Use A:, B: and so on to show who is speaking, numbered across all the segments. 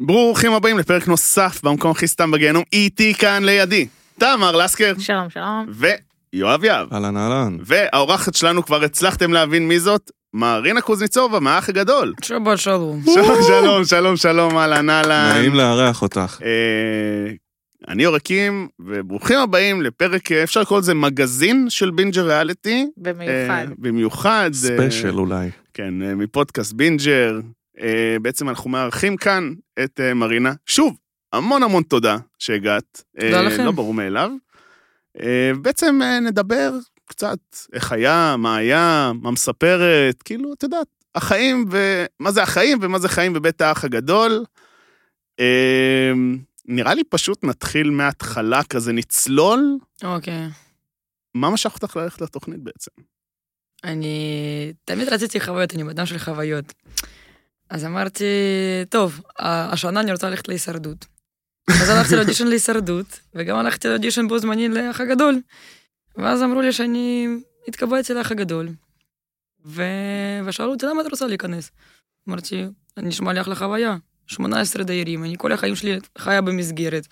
A: ברוכים הבאים לפרק נוסף במקום הכי סתם בגיהנום, איתי כאן לידי, תמר לסקר
B: שלום, שלום.
A: ויואב יהב.
C: אהלן אהלן.
A: והאורחת שלנו, כבר הצלחתם להבין מי זאת, מרינה קוזניצובה מהאח הגדול.
D: שבת שלום.
A: שלום, שלום, שלום, שלום, אהלן, אהלן.
C: נעים לארח אותך.
A: אה, אני עורקים, וברוכים הבאים לפרק, אה, אפשר לקרוא לזה מגזין של בינג'ר ריאליטי.
B: במיוחד.
A: אה, במיוחד. אה,
C: ספיישל אולי.
A: כן, אה, מפודקאסט בינג'ר. אה, בעצם אנחנו מארחים כאן את אה, מרינה. שוב, המון המון תודה שהגעת.
D: תודה
A: אה,
D: לכם.
A: לא ברור מאליו. אה, בעצם אה, נדבר קצת איך היה, מה היה, מה מספרת, כאילו, את יודעת, החיים ו... מה זה החיים ומה זה חיים בבית האח הגדול. אה, נראה לי פשוט נתחיל מההתחלה, כזה נצלול.
D: אוקיי.
A: מה משך אותך ללכת לתוכנית בעצם?
D: אני תמיד רציתי חוויות, אני באדם של חוויות. אז אמרתי, טוב, ה- השנה אני רוצה ללכת להישרדות. אז הלכתי לאודישן להישרדות, וגם הלכתי לאודישן בו זמני לאח הגדול. ואז אמרו לי שאני התקבלתי לאח הגדול. ו... ושאלו אותי, למה את רוצה להיכנס? אמרתי, נשמע לי אחלה חוויה. 18 דיירים, אני כל החיים שלי חיה במסגרת.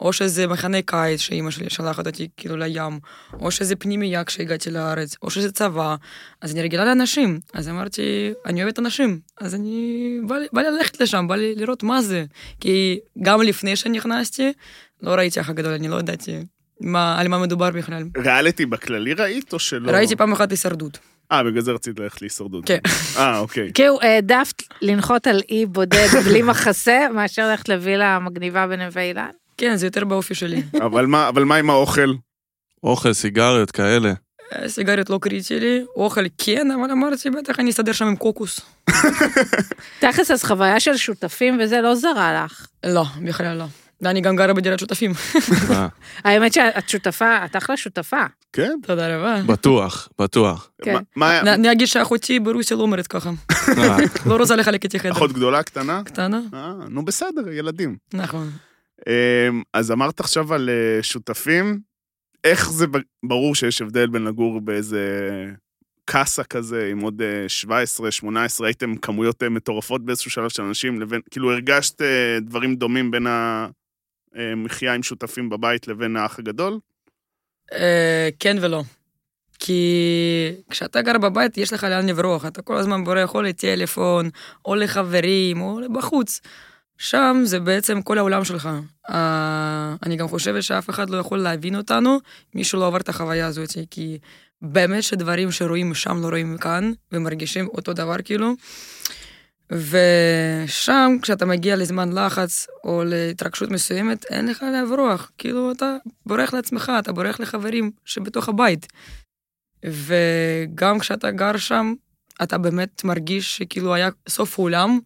D: או שזה מחנה קיץ שאימא שלי שלחת אותי כאילו לים, או שזה פנימייה כשהגעתי לארץ, או שזה צבא. אז אני רגילה לאנשים. אז אמרתי, אני אוהבת אנשים. אז אני... בא לי, בא לי ללכת לשם, בא לי לראות מה זה. כי גם לפני שנכנסתי, לא ראיתי אח הגדול, אני לא ידעתי מה, על מה מדובר בכלל.
A: ריאליטי בכללי ראית או שלא?
D: לא. ראיתי פעם אחת הישרדות.
A: אה, בגלל זה רצית ללכת להישרדות.
D: כן.
A: אה, אוקיי.
B: כאילו, העדפת לנחות על אי בודד בלי מחסה, מאשר ללכת לווילה המגניבה בנווה אילן?
D: כן, זה יותר באופי שלי.
A: אבל מה, אבל מה עם האוכל?
C: אוכל, סיגריות כאלה.
D: אה, סיגריות לא קריטי לי, אוכל כן, אבל אמרתי, בטח אני אסתדר שם עם קוקוס.
B: תכלס, אז חוויה של שותפים וזה לא זרה לך.
D: לא, בכלל לא. ואני גם גרה בדירת שותפים.
C: אה,
B: האמת שאת שותפה, את אחלה שותפה.
A: כן.
D: תודה רבה.
C: בטוח, בטוח.
B: כן.
A: מה- מה היה?
D: נ- אני אגיד שאחותי ברוסיה לא אומרת ככה.
C: אה,
D: לא רוצה לחלק איתי חדר.
A: אחות גדולה, קטנה?
D: קטנה?
A: אה, נו בסדר, ילדים.
D: נכון.
A: אמ, אז אמרת עכשיו על אה, שותפים, איך זה ב- ברור שיש הבדל בין לגור באיזה קאסה כזה, עם עוד אה, 17, 18, הייתם כמויות אה, מטורפות באיזשהו שלב של אנשים, לבין, כאילו הרגשת אה, דברים דומים בין המחיה עם שותפים בבית לבין האח הגדול?
D: אה, כן ולא. כי כשאתה גר בבית, יש לך לאן לברוח. אתה כל הזמן בורח או לטלפון, או לחברים, או בחוץ. שם זה בעצם כל העולם שלך. אה, אני גם חושבת שאף אחד לא יכול להבין אותנו, מי שלא עבר את החוויה הזאת, כי באמת שדברים שרואים שם לא רואים כאן, ומרגישים אותו דבר כאילו. ושם, כשאתה מגיע לזמן לחץ או להתרגשות מסוימת, אין לך לברוח. כאילו, אתה בורח לעצמך, אתה בורח לחברים שבתוך הבית. וגם כשאתה גר שם, אתה באמת מרגיש שכאילו היה סוף העולם,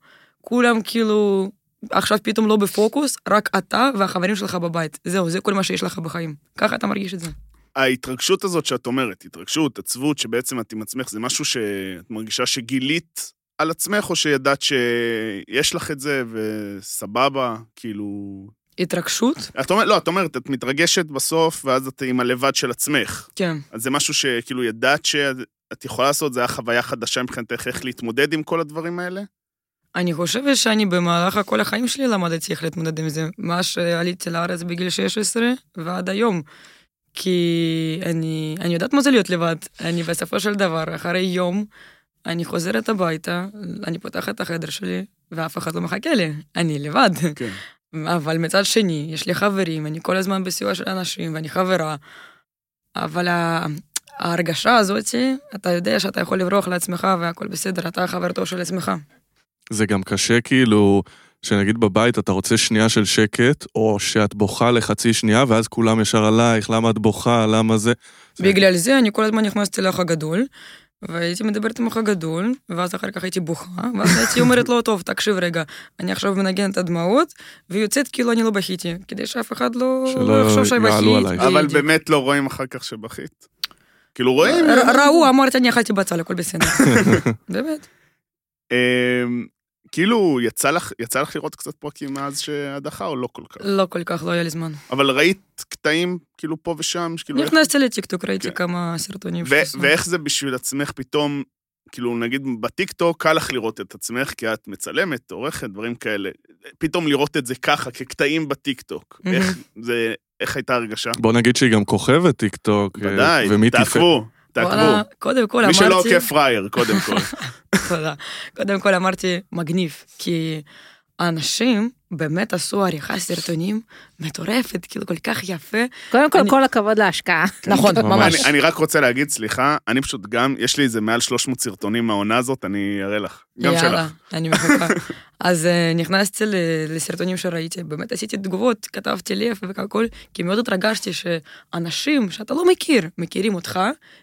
D: כולם כאילו עכשיו פתאום לא בפוקוס, רק אתה והחברים שלך בבית. זהו, זה כל מה שיש לך בחיים. ככה אתה מרגיש את זה.
A: ההתרגשות הזאת שאת אומרת, התרגשות, עצבות, שבעצם את עם עצמך, זה משהו שאת מרגישה שגילית על עצמך, או שידעת שיש לך את זה וסבבה, כאילו...
D: התרגשות?
A: את אומרת, לא, את אומרת, את מתרגשת בסוף, ואז את עם הלבד של עצמך.
D: כן.
A: אז זה משהו שכאילו ידעת שאת יכולה לעשות, זה היה חוויה חדשה מבחינתך, איך להתמודד עם כל הדברים האלה?
D: אני חושבת שאני במהלך כל החיים שלי למדתי איך להתמודד עם זה, מאז שעליתי לארץ בגיל 16 ועד היום. כי אני, אני יודעת מה זה להיות לבד, אני בסופו של דבר, אחרי יום, אני חוזרת הביתה, אני פותחת את החדר שלי, ואף אחד לא מחכה לי, אני לבד.
A: כן.
D: אבל מצד שני, יש לי חברים, אני כל הזמן בסיוע של אנשים, ואני חברה, אבל ה- ההרגשה הזאת, אתה יודע שאתה יכול לברוח לעצמך והכל בסדר, אתה החבר טוב של עצמך.
C: זה גם קשה כאילו, שנגיד בבית אתה רוצה שנייה של שקט, או שאת בוכה לחצי שנייה, ואז כולם ישר עלייך, למה את בוכה, למה זה. זה-
D: בגלל זה אני כל הזמן נכנסתי לאח הגדול, והייתי מדברת עם אח הגדול, ואז אחר כך הייתי בוכה, ואז הייתי אומרת לו, טוב, תקשיב רגע, אני עכשיו מנגנת את הדמעות, ויוצאת כאילו אני לא בכיתי, כדי שאף אחד לא
C: שלא
D: לא יחשוב שבכיתי.
C: יעלו עלייך.
A: אבל
D: בדיוק.
A: באמת לא רואים אחר כך שבכית. כאילו, רואים...
D: ר- ראו, אמרתי, אני אכלתי בצל, הכל בסדר. באמת.
A: אמ, כאילו, יצא לך, יצא לך לראות קצת פרקים מאז שהדחה, או לא כל כך?
D: לא כל כך, לא היה לי זמן.
A: אבל ראית קטעים, כאילו, פה ושם, שכאילו... איך-
D: נכנסתי לטיקטוק, ראיתי
A: כן.
D: כמה סרטונים
A: ו- ואיך זה בשביל עצמך פתאום כאילו, נגיד, בטיקטוק קל לך לראות את עצמך, כי את מצלמת, עורכת, דברים כאלה. פתאום לראות את זה ככה, כקטעים בטיקטוק.
D: מהמם.
A: איך זה, איך הייתה הרגשה?
C: בוא נגיד שהיא גם כוכבת טיקטוק. אה,
A: ודאי,
C: ומי תפעל?
A: תעקבו,
D: וואלה,
A: תעקבו.
D: קודם כל
A: מי
D: אמרתי...
A: שלא עוקף פראייר, קודם כל.
D: תודה. קודם כל אמרתי, מגניב, כי אנשים באמת עשו עריכה סרטונים מטורפת, כאילו כל כך יפה.
B: קודם כל,
D: אני-
B: כל הכבוד להשקעה.
D: נכון,
C: ממש.
D: ממש.
A: כן, אני- אני רק רוצה להגיד, סליחה, אני פשוט גם, יש לי איזה מעל 300 סרטונים מהעונה הזאת, אני אראה לך. גם
D: יאללה,
A: שלך.
D: אני מחכה. אז אה, נכנסתי ל- לסרטונים שראיתי, באמת עשיתי תגובות, כתבתי לב והכל, כי מאוד התרגשתי שאנשים שאתה לא מכיר, מכירים אותך,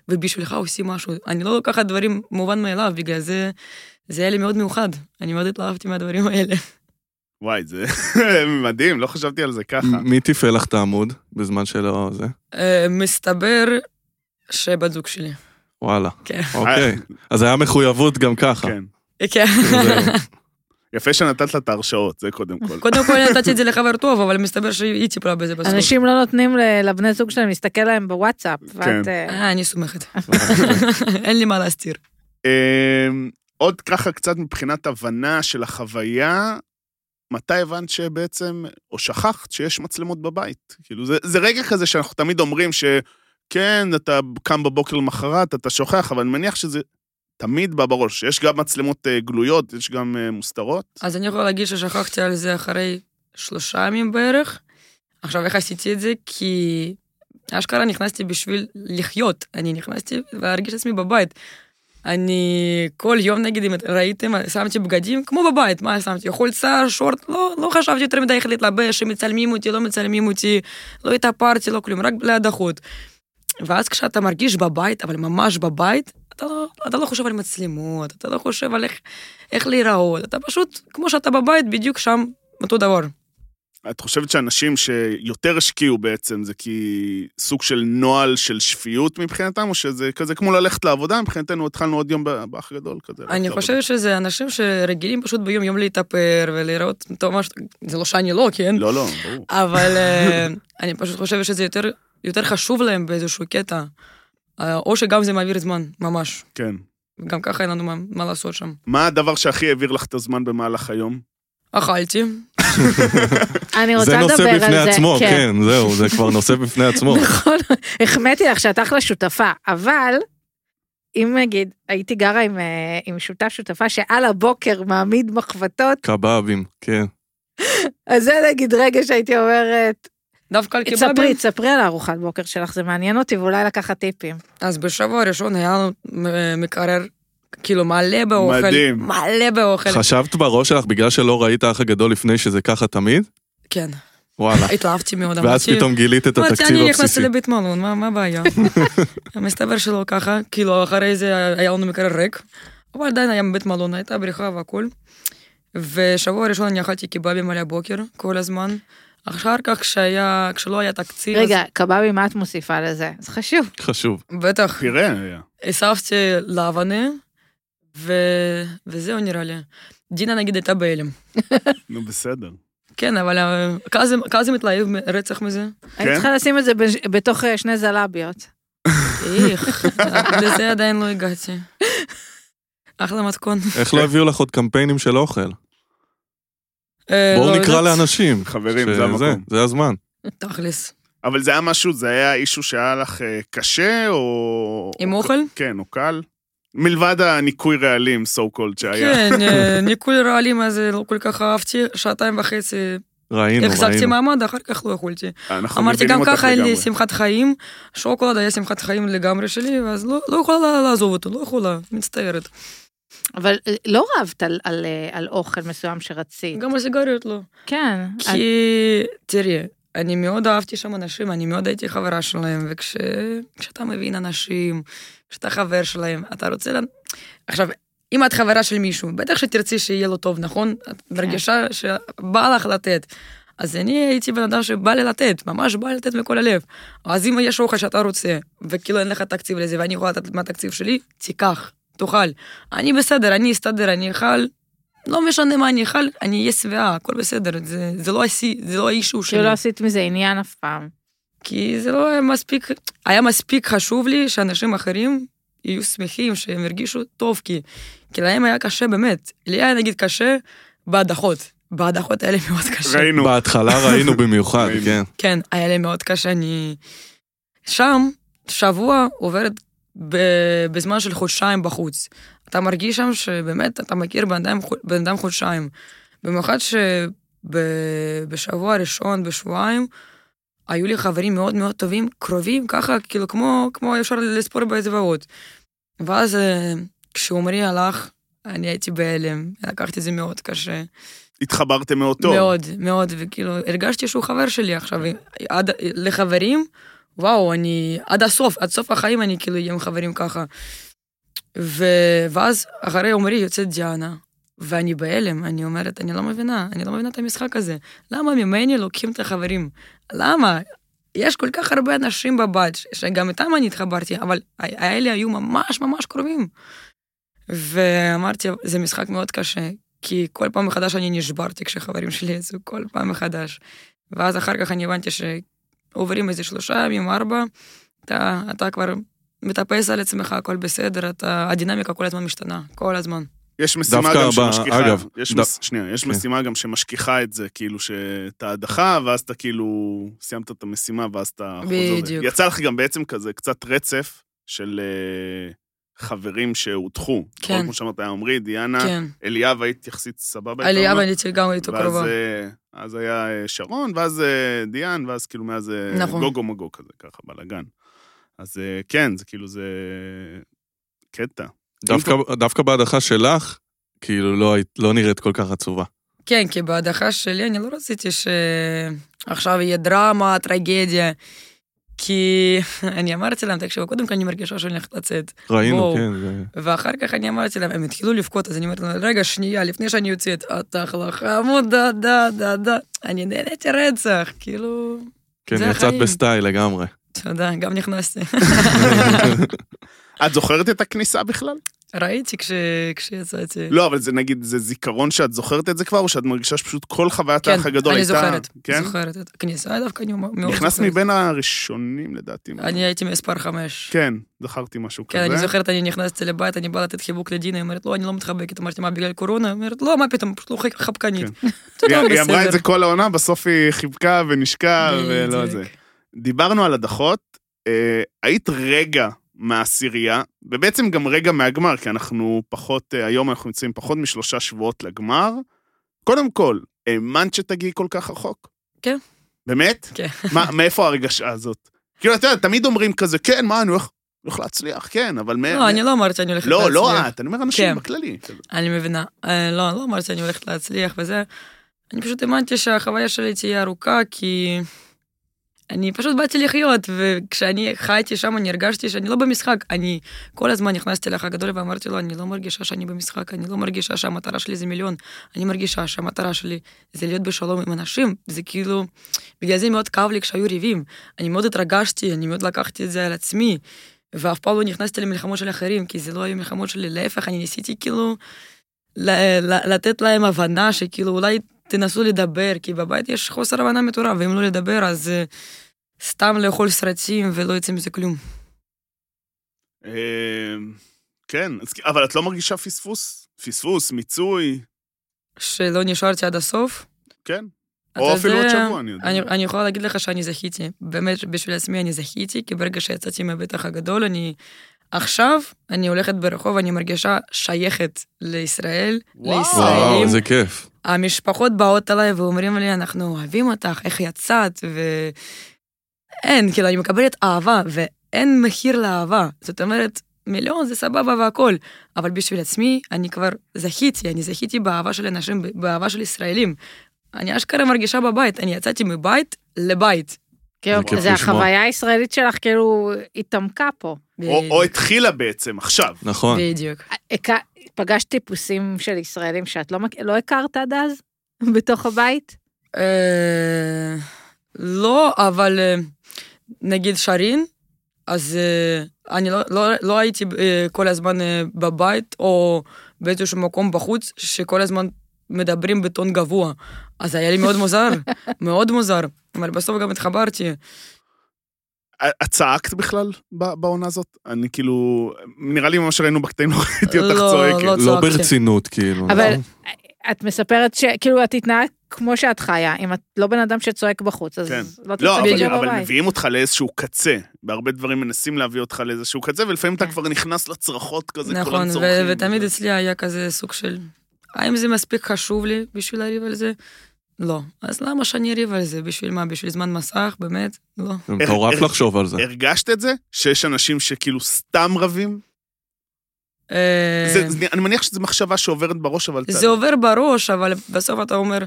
D: ובשבילך עושים משהו. אני לא לוקחת דברים מובן מאליו, בגלל זה זה היה לי מאוד מיוחד. אני מאוד התלהבתי מהדברים האלה.
A: וואי, זה מדהים, לא חשבתי על זה ככה.
C: מ- מי תפעל לך את העמוד בזמן שלא זה?
D: אה, מסתבר שבת זוג שלי.
C: וואלה.
D: כן.
C: אוקיי. אז היה מחויבות גם ככה.
A: אה.
C: כאילו,
A: כן.
D: כן.
C: זהו.
A: יפה שנתת לה את ההרשאות, זה קודם כל.
D: קודם כל נתתי את זה לחבר טוב, אבל מסתבר שהיא טיפלה בזה בסוף.
B: אנשים לא נותנים ל- לבני זוג שלהם להסתכל להם בוואטסאפ, ואת...
A: כן.
B: אה,
D: אה, אני סומכת. אין לי מה להסתיר.
A: אמ, עוד ככה קצת מבחינת הבנה של החוויה, מתי הבנת שבעצם, או שכחת שיש מצלמות בבית? כאילו, זה, זה רגע כזה שאנחנו תמיד אומרים שכן, אתה קם בבוקר למחרת, אתה שוכח, אבל אני מניח שזה תמיד בא בראש. יש גם מצלמות אה, גלויות, יש גם אה, מוסתרות.
D: אז אני יכולה להגיד ששכחתי על זה אחרי שלושה ימים בערך. עכשיו, איך עשיתי את זה? כי אשכרה נכנסתי בשביל לחיות. אני נכנסתי להרגיש את עצמי בבית. אני כל יום, נגיד, אם ראיתם, שמתי בגדים כמו בבית, מה שמתי? חולצה, שורט, לא, לא חשבתי יותר מדי איך להתלבש, אם מצלמים אותי, לא מצלמים אותי, לא התאפרתי, לא כלום, רק להדחות. ואז כשאתה מרגיש בבית, אבל ממש בבית, אתה לא, אתה לא חושב על מצלמות, אתה לא חושב על איך, איך להיראות, אתה פשוט, כמו שאתה בבית, בדיוק שם אותו דבר.
A: את חושבת שאנשים שיותר השקיעו בעצם, זה כי סוג של נוהל של שפיות מבחינתם, או שזה כזה כמו ללכת לעבודה, מבחינתנו התחלנו עוד יום באח גדול כזה. ללכת
D: אני
A: לעבודה.
D: חושבת שזה אנשים שרגילים פשוט ביום-יום להתאפר ולראות טוב מה ש... זה לא שאני לא, כן?
A: לא, לא, ברור.
D: אבל אה, אני פשוט חושבת שזה יותר, יותר חשוב להם באיזשהו קטע. אה, או שגם זה מעביר זמן, ממש.
A: כן.
D: גם ככה אין לנו מה, מה לעשות שם.
A: מה הדבר שהכי העביר לך את הזמן במהלך היום?
D: אכלתי,
B: אני
C: זה
B: רוצה לדבר על זה.
C: נושא בפני עצמו, כן, זהו, זה כבר נושא בפני עצמו.
B: נכון, החמאתי לך שאת אחלה שותפה, אבל אם נגיד הייתי גרה עם, אה, עם שותף שותפה שעל הבוקר מעמיד מחבטות,
C: קבבים, כן.
B: אז זה נגיד רגע שהייתי אומרת,
D: דווקא על
B: תספרי,
D: קיבבים.
B: תספרי על הארוחת בוקר שלך, זה מעניין אותי ואולי לקחת טיפים.
D: אז בשבוע הראשון היה לנו אה, מקרר כאילו מלא באוכל.
A: מדהים.
D: מלא באוכל.
C: חשבת בראש שלך, בגלל שלא ראית האח הגדול לפני שזה ככה תמיד?
D: כן,
C: וואלה.
D: התלהבתי מאוד.
C: ואז
D: אמרתי-
C: פתאום גילית את
D: אמרתי,
C: התקציב
D: אני נכנסתי
C: הבסיסי.
D: לבית מלון, מה מה הבעיה? מסתבר שלא ככה, כאילו אחרי זה היה לנו מקרה ריק, אבל עדיין היה בית מלון, הייתה בריכה והכל. ושבוע ראשון אני אכלתי קיבבים על הבוקר, כל הזמן. אחר כך כשהיה, כשלא היה תקציב,
B: רגע, קבבי, מה את מוסיפה לזה? זה חשוב.
C: חשוב.
D: אז בטח,
A: פירה היה.
D: הסבתי לבנה, ו... וזהו נראה לי. דינה נגיד הייתה בהלם.
A: נו, בסדר.
D: כן, אבל אה, קאזם קאזם התלהב מ- רצח מזה.
B: היית צריכה לשים את זה בש- בתוך אה, שני זלביות.
D: איך, לזה עדיין לא הגעתי. אחלה מתכון.
C: איך לא הביאו לך עוד קמפיינים של אוכל?
D: אה, לא
C: בואו נקרא
D: יודעת.
C: לאנשים.
A: חברים,
C: שזה-
A: זה המקום.
C: זה הזמן.
D: תכלס.
A: אבל זה היה משהו, זה היה אישו שהיה לך אה, קשה, או...
D: עם
A: או-
D: אוכל?
A: כן, או קל. מלבד הניקוי רעלים, so called, שהיה.
D: כן, אה, ניקוי רעלים הזה לא כל כך אהבתי, שעתיים וחצי
C: ראינו,
D: החזקתי
C: ראינו.
D: מעמד, אחר כך לא יכולתי.
A: אנחנו
D: אמרתי,
A: מבינים
D: גם
A: אותך
D: ככה אין לי
A: לגמרי.
D: שמחת חיים, שוקולד היה שמחת חיים לגמרי שלי, ואז לא לא יכולה לעזוב אותו, לא יכולה, מצטערת.
B: אבל אה, לא רבת על- על אה, על אוכל מסוים שרצית.
D: גם על סיגריות לא.
B: כן.
D: כי, תראי, אני מאוד אהבתי שם אנשים, אני מאוד הייתי חברה שלהם, וכשאתה מבין אנשים, כשאתה חבר שלהם, אתה רוצה... לה... עכשיו, אם את חברה של מישהו, בטח שתרצי שיהיה לו טוב, נכון? את מרגישה שבא לך לתת. אז אני הייתי בן אדם שבא לי לתת, ממש בא לי לתת מכל הלב. אז אם יש אוכל שאתה רוצה, וכאילו אין לך תקציב לזה, ואני יכולה לתת מהתקציב שלי, תיקח, תאכל. אני בסדר, אני אסתדר, אני אכל, לא משנה מה אני אכל, אני אהיה שבעה, הכל בסדר, זה, זה לא השיא, זה לא האישו שלי.
B: שלא כאילו עשית מזה עניין אף פעם.
D: כי זה לא היה מספיק, היה מספיק חשוב לי שאנשים אחרים יהיו שמחים, שהם ירגישו טוב, כי, כי להם היה קשה באמת. לי היה נגיד קשה בהדחות. בהדחות האלה מאוד קשה.
A: ראינו.
C: בהתחלה ראינו במיוחד,
A: ראינו.
C: כן.
D: כן, היה לי מאוד קשה, אני... שם, שבוע עוברת ב... בזמן של חודשיים בחוץ. אתה מרגיש שם שבאמת אתה מכיר בן אדם, חו- בן אדם חודשיים. במיוחד שבשבוע הראשון, בשבועיים, היו לי חברים מאוד מאוד טובים, קרובים, ככה, כאילו, כמו, כמו אפשר לספור באצבעות. ואז אה, כשעומרי הלך, אני הייתי בהלם, לקחתי את זה מאוד קשה.
A: התחברתם מאוד טוב.
D: מאוד, מאוד, וכאילו, הרגשתי שהוא חבר שלי עכשיו, עד, לחברים, וואו, אני, עד הסוף, עד סוף החיים אני כאילו אהיה עם חברים ככה. ו, ואז אחרי עומרי יוצאת דיאנה, ואני בהלם, אני אומרת, אני לא מבינה, אני לא מבינה את המשחק הזה. למה ממני לוקחים את החברים? למה? יש כל כך הרבה אנשים בבת, ש- שגם איתם אני התחברתי, אבל ה- האלה היו ממש ממש קרובים. ואמרתי, זה משחק מאוד קשה, כי כל פעם מחדש אני נשברתי כשחברים שלי יצאו, כל פעם מחדש. ואז אחר כך אני הבנתי שעוברים איזה שלושה ימים, ארבע, אתה, אתה כבר מטפס על עצמך, הכל בסדר, אתה, הדינמיקה כל הזמן משתנה, כל הזמן.
A: יש משימה
C: דווקא
A: גם
C: ב-
A: שמשכיחה,
C: אגב,
A: יש
C: ד-
A: מס- שנייה, יש
C: כן.
A: משימה גם שמשכיחה את זה, כאילו שאת ההדחה, ואז אתה כאילו סיימת את המשימה, ואז אתה חוזר.
D: בדיוק.
A: יצא לך גם בעצם כזה קצת רצף של אה, חברים שהודחו.
D: כן.
A: אבל כמו שאמרת, היה עמרי, דיאנה,
D: כן.
A: אליאב היית יחסית סבבה.
D: עלייה
A: איתנו.
D: ואני גם איתו
A: ואז,
D: קרובה.
A: אה, אז היה אה, שרון, ואז אה, דיאן, ואז כאילו מאז אה,
D: נכון.
A: גוגו מגו כזה, ככה, בלאגן. אז אה, כן, זה כאילו, זה קטע.
C: דווקא- דווקא בהדחה שלך, כאילו לא היית- לא נראית כל כך עצובה.
D: כן, כי בהדחה שלי אני לא רציתי שעכשיו יהיה דרמה, טרגדיה. כי אני אמרתי להם, תקשיבו, קודם כל אני מרגישה שאני הולכת לצאת.
C: ראינו,
D: בואו.
C: כן. זה-
D: ואחר כך אני אמרתי להם, הם התחילו לבכות, אז אני אומרת להם, רגע, שנייה, לפני שאני יוצאת, את אחלה חמודה, דה, דה, דה. אני נהניתי רצח, כאילו,
C: כן,
D: זה
C: יצאת
D: החיים.
C: בסטייל לגמרי.
D: תודה, גם נכנסתי.
A: את זוכרת את הכניסה בכלל?
D: ראיתי כש... כשיצאתי.
A: לא, אבל זה נגיד, זה זיכרון שאת זוכרת את זה כבר, או שאת מרגישה שפשוט כל חוויית
D: כן,
A: האח הגדול
D: אני
A: הייתה...
D: זוכרת,
A: כן?
D: זוכרת. את הכניסה דווקא אני מאוד זוכרת.
A: נכנס מבין הראשונים לדעתי.
D: אני הייתי מספר חמש.
A: כן, זכרתי משהו
D: כן, אני
A: כזה.
D: זוכרת, אני נכנסתי לבית, אני באה לתת חיבוק לדינה, היא אומרת, לא, אני לא מתחבקת. אמרתי, מה, בגלל קורונה? היא אומרת, לא, מה פתאום, פשוט לא חי- חבקנית.
A: היא-
D: תודה,
A: היא אמרה את זה
D: לא בסדר.
A: כל העונה, בסוף היא חיבקה ונשקה ולא
D: בדיוק.
A: זה. דיברנו על הדחות, אה, היית רגע מהעשירייה, ובעצם גם רגע מהגמר, כי אנחנו פחות, אה, היום אנחנו נמצאים פחות משלושה שבועות לגמר. קודם כל, האמנת שתגיעי כל כך רחוק?
D: כן.
A: באמת?
D: כן.
A: מה, מאיפה הרגשה הזאת? כאילו, אתה יודע, תמיד אומרים כזה, כן, מה, אני הולך הולך להצליח, כן, אבל... מה-
D: לא, אני לא אמרתי, אני הולכת
A: לא,
D: להצליח.
A: לא את, אני אומר אנשים
D: כן.
A: בכללי. כזה.
D: אני מבינה. אה, לא, לא אמרתי שאני הולכת להצליח וזה. אני פשוט האמנתי שהחוויה שלי תהיה ארוכה, כי אני פשוט באתי לחיות, וכשאני חייתי שם, אני הרגשתי שאני לא במשחק. אני כל הזמן נכנסתי לאח הגדול ואמרתי לו, אני לא מרגישה שאני במשחק, אני לא מרגישה שהמטרה שלי זה מיליון, אני מרגישה שהמטרה שלי זה להיות בשלום עם אנשים. זה כאילו, בגלל זה מאוד כאב לי כשהיו ריבים. אני מאוד התרגשתי, אני מאוד לקחתי את זה על עצמי. ואף פעם לא נכנסתי למלחמות של אחרים, כי זה לא היו מלחמות שלי, להפך, אני ניסיתי כאילו ל- ל- לתת להם הבנה שכאילו אולי תנסו לדבר, כי בבית יש חוסר הבנה מטורף, ואם לא לדבר אז אה, סתם לאכול סרטים ולא יוצא מזה כלום.
A: אה, כן, אז- אבל את לא מרגישה פספוס? פספוס, מיצוי,
D: שלא נשארתי עד הסוף.
A: כן.
D: אתה
A: או אפילו
D: יודע,
A: עוד שבוע, אני יודע.
D: אני, אני יכולה להגיד לך שאני זכיתי, באמת בשביל עצמי אני זכיתי, כי ברגע שיצאתי מהבטח הגדול, אני עכשיו, אני הולכת ברחוב, אני מרגישה שייכת לישראל,
A: וואו.
D: לישראלים.
C: וואו, זה כיף.
D: המשפחות באות אליי ואומרים לי, אנחנו אוהבים אותך, איך יצאת, ו... אין, כאילו, אני מקבלת אהבה, ואין מחיר לאהבה. זאת אומרת, מיליון זה סבבה והכול, אבל בשביל עצמי, אני כבר זכיתי, אני זכיתי באהבה של אנשים, באהבה של ישראלים. אני אשכרה מרגישה בבית, אני יצאתי מבית לבית.
B: כאילו,
C: זה כיף
B: זה
C: לשמוע.
B: החוויה הישראלית שלך כאילו התעמקה פה.
A: או או התחילה בעצם, עכשיו.
C: נכון.
D: בדיוק.
B: הכ- פגשת טיפוסים של ישראלים שאת לא, מכ- לא הכרת עד אז? בתוך הבית?
D: אה, לא, אבל אה, נגיד שרין, אז אה, אני לא, לא, לא הייתי אה, כל הזמן אה, בבית או באיזשהו מקום בחוץ, שכל הזמן מדברים בטון גבוה. אז היה לי מאוד מוזר, מאוד מוזר. אבל בסוף גם התחברתי.
A: אה, את צעקת בכלל ב- בעונה הזאת? אני כאילו, נראה לי ממש ראינו בקטעים, לא ראיתי אותך
D: לא,
A: צועקת.
D: לא.
C: לא
D: צעקתי.
C: ברצינות, כאילו.
B: אבל
C: נכון?
B: את מספרת שכאילו את התנהגת כמו שאת חיה, אם את לא בן אדם שצועק בחוץ, אז
A: כן.
B: לא
A: לא,
B: תצעקי
A: אבל,
B: גם
A: אבל
B: בבית.
A: מביאים אותך לאיזשהו קצה. בהרבה דברים מנסים להביא אותך לאיזשהו קצה, ולפעמים אתה
B: כן.
A: כבר נכנס לצרחות כזה,
D: נכון,
A: כולם
D: ו-
A: צורכים.
D: ותמיד אצלי היה כזה סוג של, האם זה מספיק חשוב לי בשביל לריב על זה? לא. אז למה שאני אריב על זה? בשביל מה? בשביל זמן מסך? באמת? לא.
C: זה מטורף
A: איך-
C: לחשוב על זה.
A: הרגשת את זה? שיש אנשים שכאילו סתם רבים?
D: אה,
A: זה- זה- אני מניח שזו מחשבה שעוברת בראש, אבל... אתה-
D: זה עובר בראש, אבל בסוף אתה אומר,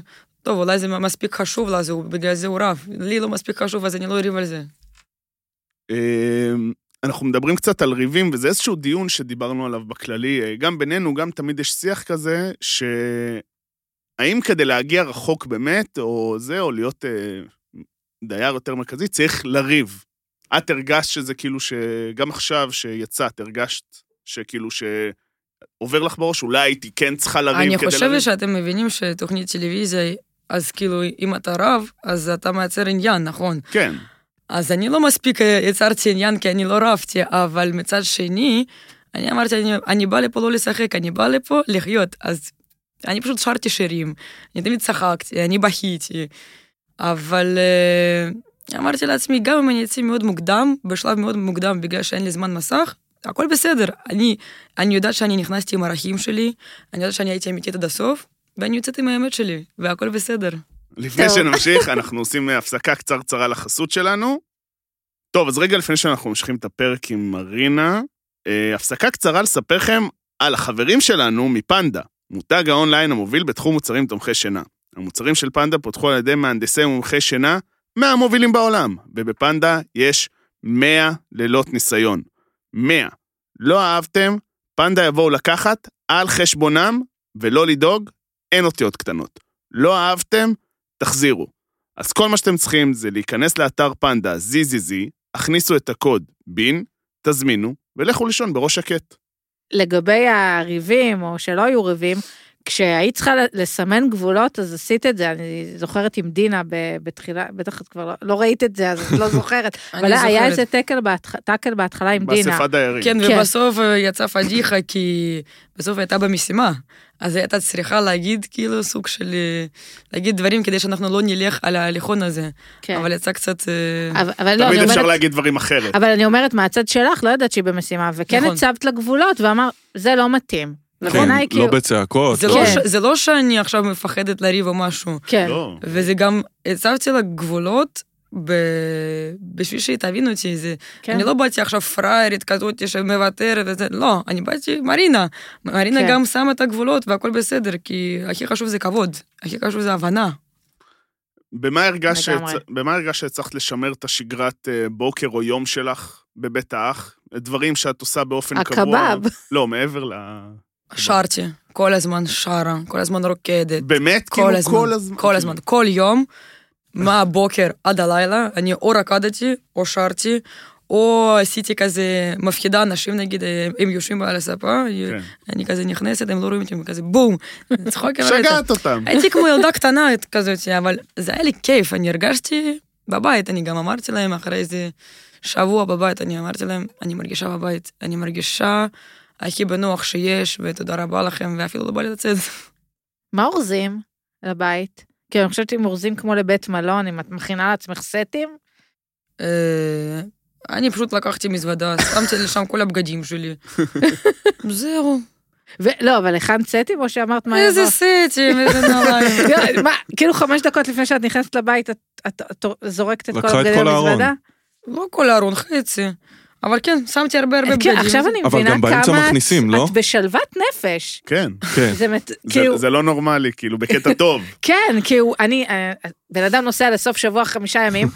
D: טוב, אולי זה מספיק חשוב לה, זה- בגלל זה הוא רב. לי לא מספיק חשוב, אז אני לא אריב על זה.
A: אמ, אנחנו מדברים קצת על ריבים, וזה איזשהו דיון שדיברנו עליו בכללי, אה, גם בינינו, גם תמיד יש שיח כזה, ש... האם כדי להגיע רחוק באמת, או זה, או להיות אה, דייר יותר מרכזי, צריך לריב. את הרגשת שזה כאילו ש... גם עכשיו שיצאת, הרגשת שכאילו ש... עובר לך בראש, אולי הייתי כן צריכה לריב כדי
D: אני
A: לריב.
D: חושבת שאתם מבינים שתוכנית טלוויזיה, אז כאילו, אם אתה רב, אז אתה מייצר עניין, נכון?
A: כן.
D: אז אני לא מספיק אה, יצרתי עניין כי אני לא רבתי, אבל מצד שני, אני אמרתי, אני, אני בא לפה לא לשחק, אני בא לפה לחיות. אז אני פשוט שרתי שירים, אני תמיד צחקתי, אני בכיתי. אבל אה, אמרתי לעצמי, גם אם אני אצא מאוד מוקדם, בשלב מאוד מוקדם, בגלל שאין לי זמן מסך, הכל בסדר. אני, אני יודעת שאני נכנסתי עם הערכים שלי, אני יודעת שאני הייתי אמיתית עד הסוף, ואני יוצאת עם האמת שלי, והכל בסדר.
A: לפני
B: טוב.
A: שנמשיך, אנחנו עושים הפסקה קצרצרה לחסות שלנו. טוב, אז רגע לפני שאנחנו ממשיכים את הפרק עם מרינה, אה, הפסקה קצרה לספר לכם על החברים שלנו מפנדה, מותג האונליין המוביל בתחום מוצרים תומכי שינה. המוצרים של פנדה פותחו על ידי מהנדסי ומומחי שינה מהמובילים בעולם, ובפנדה יש 100 לילות ניסיון. 100. לא אהבתם, פנדה יבואו לקחת על חשבונם, ולא לדאוג, אין אותיות קטנות. לא אהבתם, תחזירו. אז כל מה שאתם צריכים זה להיכנס לאתר פנדה ZZZ, הכניסו את הקוד בין, תזמינו, ולכו לישון בראש שקט.
B: לגבי הריבים, או שלא היו ריבים, כשהיית צריכה לסמן גבולות, אז עשית את זה, אני זוכרת עם דינה ב- בתחילה, בטח את כבר לא, לא ראית את זה, אז את לא זוכרת,
D: אני
B: אבל היה
D: זוכרת.
B: איזה טקל בהתח- טאקל בהתחלה עם דינה.
A: באספת דיירים.
D: כן,
B: כן.
D: ובסוף אה, יצא פדיחה, כי בסוף הייתה במשימה. אז היא הייתה צריכה להגיד, כאילו, סוג של... אה, להגיד דברים כדי שאנחנו לא נלך על ההליכון הזה.
B: כן.
D: אבל יצא קצת... אה,
B: אבל, אבל לא, אני
A: תמיד אפשר
B: אומרת,
A: להגיד דברים אחרת.
B: אבל אני אומרת מהצד שלך, לא ידעת שהיא במשימה, וכן
D: נכון.
B: הצבת לה גבולות, ואמר, זה לא מתאים.
C: כן,
B: ובעיניי כאילו,
C: לא בצעקות.
D: זה
C: לא-
D: לא
B: כן.
D: ש- זה לא שאני עכשיו מפחדת לריב או משהו,
B: כן,
A: לא.
D: וזה גם... הצבתי לה גבולות. ב... בשביל שהיא תבין אותי, זה... כן.
B: כן.
D: אני לא באתי עכשיו פראיירית כזאת שמוותרת, וזה... לא, אני באתי מרינה. מרינה
B: כן.
D: גם שמה את הגבולות והכל בסדר, כי הכי חשוב זה כבוד, הכי חשוב זה הבנה.
A: במה הרגשת
B: לגמרי.
A: שהצ- במה הרגשת שהצלחת לשמר את השגרת אה, בוקר או יום שלך בבית האח? דברים שאת עושה באופן קבוע.
B: הקבב.
A: לא, מעבר ל...
D: שרתי, כל הזמן שרה, כל הזמן רוקדת.
A: באמת?
D: כל
A: כאילו,
D: הזמן, כל הזמן, כל יום, מהבוקר עד הלילה, אני או רקדתי, או שרתי, או עשיתי כזה, מפחידה אנשים, נגיד, אה, הם יושבים על הספה,
A: כן.
D: אני כזה נכנסת, הם לא רואים אותי, הם כזה בום, צחוק.
B: כן,
D: אבל הייתי-
A: כאילו, שגעת אותם.
B: אה,
D: הייתי כמו ילדה קטנה כזאת, אבל זה היה לי כיף, אני הרגשתי בבית, אני גם אמרתי להם אחרי איזה שבוע בבית, אני אמרתי להם, אני מרגישה בבית, אני מרגישה הכי בנוח שיש, ותודה רבה לכם, ואפילו לא בא לי לצאת.
B: מה אורזים לבית? כאילו, אני חושבת שאם אורזים כמו לבית מלון, אם את מכינה לעצמך סטים,
D: אה, אני פשוט לקחתי מזוודה, שמתי לשם כל הבגדים שלי. זהו.
B: ו- לא, אבל הכנת סטים או שאמרת מה
D: איזה
B: יבוא?
D: סטים, איזה נוראים.
B: לא, מה, כאילו חמש דקות לפני שאת נכנסת לבית, את, את, את זורקת את כל
C: לקחה את
B: הבגדים
C: כל הארון.
B: למזוודה?
D: לא כל הארון, חצי. אבל כן, שמתי הרבה הרבה
B: כן,
D: בגדים.
B: עכשיו אני
C: אבל
B: מבינה
C: גם
B: כמה
C: באמצע
B: את-
C: מכניסים, לא?
B: את בשלוות נפש.
A: כן.
C: כן.
B: זה מת...
A: זה-
B: כאילו,
A: זה לא נורמלי, כאילו, בקטע טוב.
B: כן, כאילו, אני, אה, בן אדם נוסע לסוף שבוע חמישה ימים,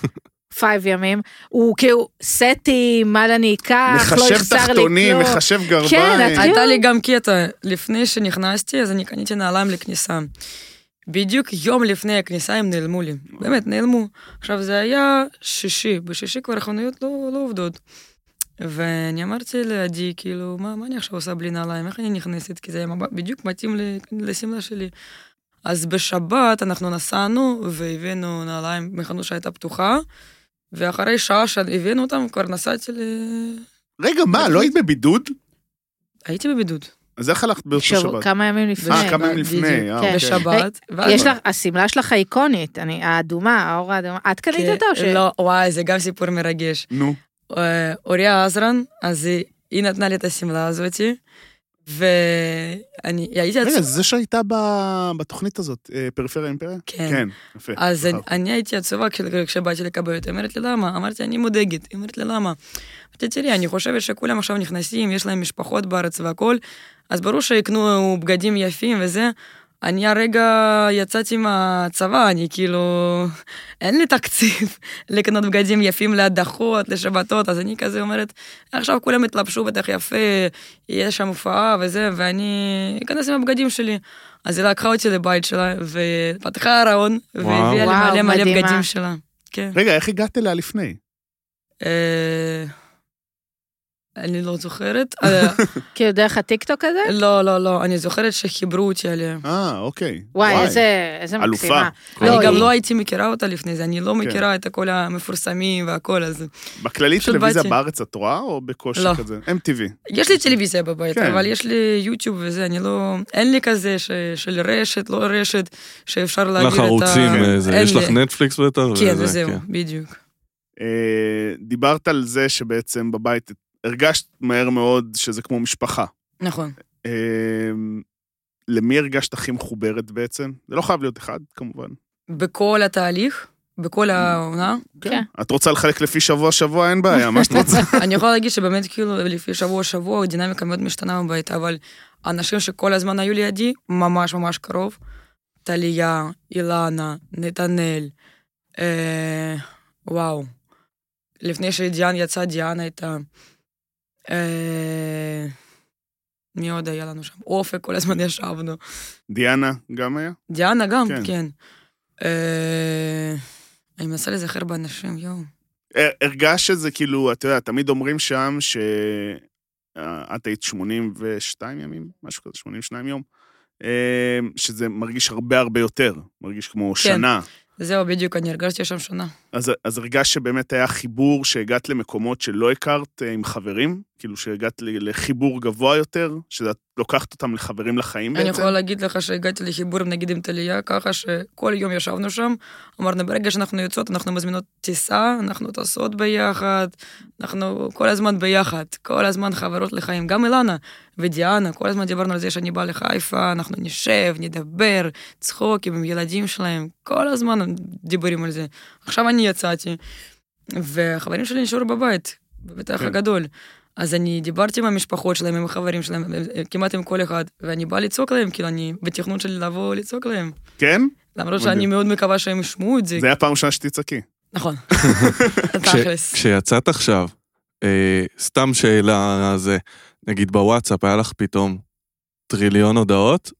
B: פייב ימים, הוא כאילו, סטים, מה אני אקח, לא
A: מחשב
B: יחסר לי כלום.
A: תחתונים, מחשב גרביים. כן.
B: את-
D: הייתה לי גם קטע, לפני שנכנסתי, אז אני קניתי נעליים לכניסה. בדיוק יום לפני הכניסה הם נעלמו לי, באמת נעלמו. עכשיו זה היה שישי, בשישי כבר החנויות לא, לא עובדות. ואני אמרתי לעדי, כאילו, מה, מה אני עכשיו עושה בלי נעליים, איך אני נכנסת? כי זה היה מבט- בדיוק מתאים ל- לשמלה שלי. ну אז בשבת אנחנו נסענו והבאנו נעליים מחנות שהייתה פתוחה, ואחרי שעה שהבאנו אותם, כבר נסעתי ל...
A: רגע, מה, לא היית בבידוד?
D: הייתי בבידוד.
A: אז איך הלכת באותו
B: שבוע-
A: שבת?
B: כמה ימים
A: אה,
B: לפני.
A: כמה ימים
D: בדיוק,
A: לפני, אה,
B: כן. אה,
A: אוקיי.
D: בשבת. ואז-
B: יש לך, השמלה שלך איקונית, אני, האדומה, האור האדומה. את קנית אותה או ש...
D: לא, וואי, זה גם סיפור מרגש.
A: נו,
D: אה, אוריה עזרן, אז היא- היא נתנה לי את השמלה הזאתי, ואני הייתי
A: רגע,
D: עצוב.
A: זה שהייתה ב- בתוכנית הזאת, אה, פריפריה אימפריה?
D: כן.
A: כן, יפה.
D: אז אני-
A: זכרתי.
D: אני הייתי עצובה כש- כשבאתי לקבל אותה, היא אומרת לי למה? אמרתי, אני מודאגת. היא אומרת לי למה? אמרתי, תראי, אני חושבת שכולם עכשיו נכנסים, יש להם משפחות בארץ והכול, אז ברור שיקנו בגדים יפים וזה. אני הרגע יצאתי מהצבא, אני כאילו, אין לי תקציב לקנות בגדים יפים להדחות, לשבתות, אז אני כזה אומרת, עכשיו כולם יתלבשו בטח יפה, יהיה שם הופעה וזה, ואני אכנס עם הבגדים שלי. אז היא לקחה אותי לבית שלה, ופתחה ארון,
C: וואו.
D: והביאה לי
B: וואו,
D: מלא מלא
B: מדהימה.
D: בגדים שלה. כן.
A: רגע, איך הגעת אליה לפני?
D: אה, אני לא זוכרת. אה,
B: כאילו דרך הטיקטוק הזה?
D: לא, לא, לא, אני זוכרת שחיברו אותי עליה.
A: אה, אוקיי.
B: וואי, איזה, איזה
A: אלופה.
B: מקסימה.
C: כל
D: אני
B: לא,
D: גם
B: היא-
D: לא הייתי מכירה אותה לפני זה, אני לא
A: כן.
D: מכירה את כל המפורסמים והכל, אז...
A: בכללי
D: פשוט
A: טלוויזיה
D: באתי.
A: בארץ את רואה, או בקושי
D: לא.
A: כזה? MTV.
D: יש לי טלוויזיה בבית,
A: כן.
D: אבל יש לי יוטיוב וזה, אני לא... אין לי כזה ש... של רשת, לא רשת, שאפשר
C: אין
D: להעביר את
C: לך
D: ה...
C: ערוצים, אה, זה,
D: אין
C: יש לך
D: לי.
C: נטפליקס בטח?
D: כן,
C: וזה,
D: וזהו,
C: כן.
D: בדיוק.
A: אה, דיברת על זה שבעצם בבית הרגשת מהר מאוד שזה כמו משפחה.
D: נכון.
A: אה, למי הרגשת הכי מחוברת בעצם? זה לא חייב להיות אחד, כמובן.
D: בכל התהליך, בכל
C: Mm.
D: העונה,
B: כן.
A: את רוצה לחלק לפי שבוע-שבוע, אין בעיה, מה שאת רוצה.
D: אני יכולה להגיד שבאמת כאילו לפי שבוע-שבוע הדינמיקה מאוד משתנה בבית, אבל אנשים שכל הזמן היו לידי, ממש ממש קרוב, טליה, אילנה, נתנאל, אה, וואו. לפני שדיאן יצאה, דיאנה הייתה... אה, מי עוד היה לנו שם? אופק, כל הזמן ישבנו.
A: דיאנה גם היה?
D: דיאנה גם,
A: כן.
D: כן. כן. אה, אני מנסה להיזכר באנשים, יואו.
A: הר- הרגשת שזה כאילו, אתה יודע, תמיד אומרים שם ש... אה, את היית 82 ימים, משהו כזה, 82 יום, אה, שזה מרגיש הרבה הרבה יותר, מרגיש כמו
D: כן.
A: שנה.
D: זהו, בדיוק, אני הרגשתי שם שונה.
A: אז, אז הרגשת שבאמת היה חיבור שהגעת למקומות שלא הכרת אה, עם חברים? כאילו שהגעת ל- לחיבור גבוה יותר, שאת לוקחת אותם לחברים לחיים
D: אני
A: בעצם?
D: יכולה להגיד לך שהגעתי לחיבור, נגיד, עם טליה, ככה שכל יום ישבנו שם, אמרנו, ברגע שאנחנו יוצאות, אנחנו מזמינות טיסה, אנחנו טסות ביחד, אנחנו כל הזמן ביחד, כל הזמן חברות לחיים. גם אילנה ודיאנה, כל הזמן דיברנו על זה שאני באה לחיפה, אנחנו נשב, נדבר, צחוקים עם ילדים שלהם, כל הזמן דיבורים על זה. עכשיו אני יצאתי, והחברים שלי נשארו בבית, בבית האח
A: כן.
D: הגדול. אז אני דיברתי עם המשפחות שלהם, עם החברים שלהם, כמעט עם כל אחד, ואני באה לצעוק להם, כאילו, אני בתכנון שלי לבוא לצעוק להם.
A: כן?
D: למרות
A: מדהים.
D: שאני מאוד מקווה שהם ישמעו את זה.
A: זה היה פעם ראשונה שתצעקי.
D: נכון.
C: כש-
D: תכלס.
C: כשיצאת עכשיו, אה, סתם שאלה אה, זה, נגיד בוואטסאפ היה לך פתאום טריליון הודעות?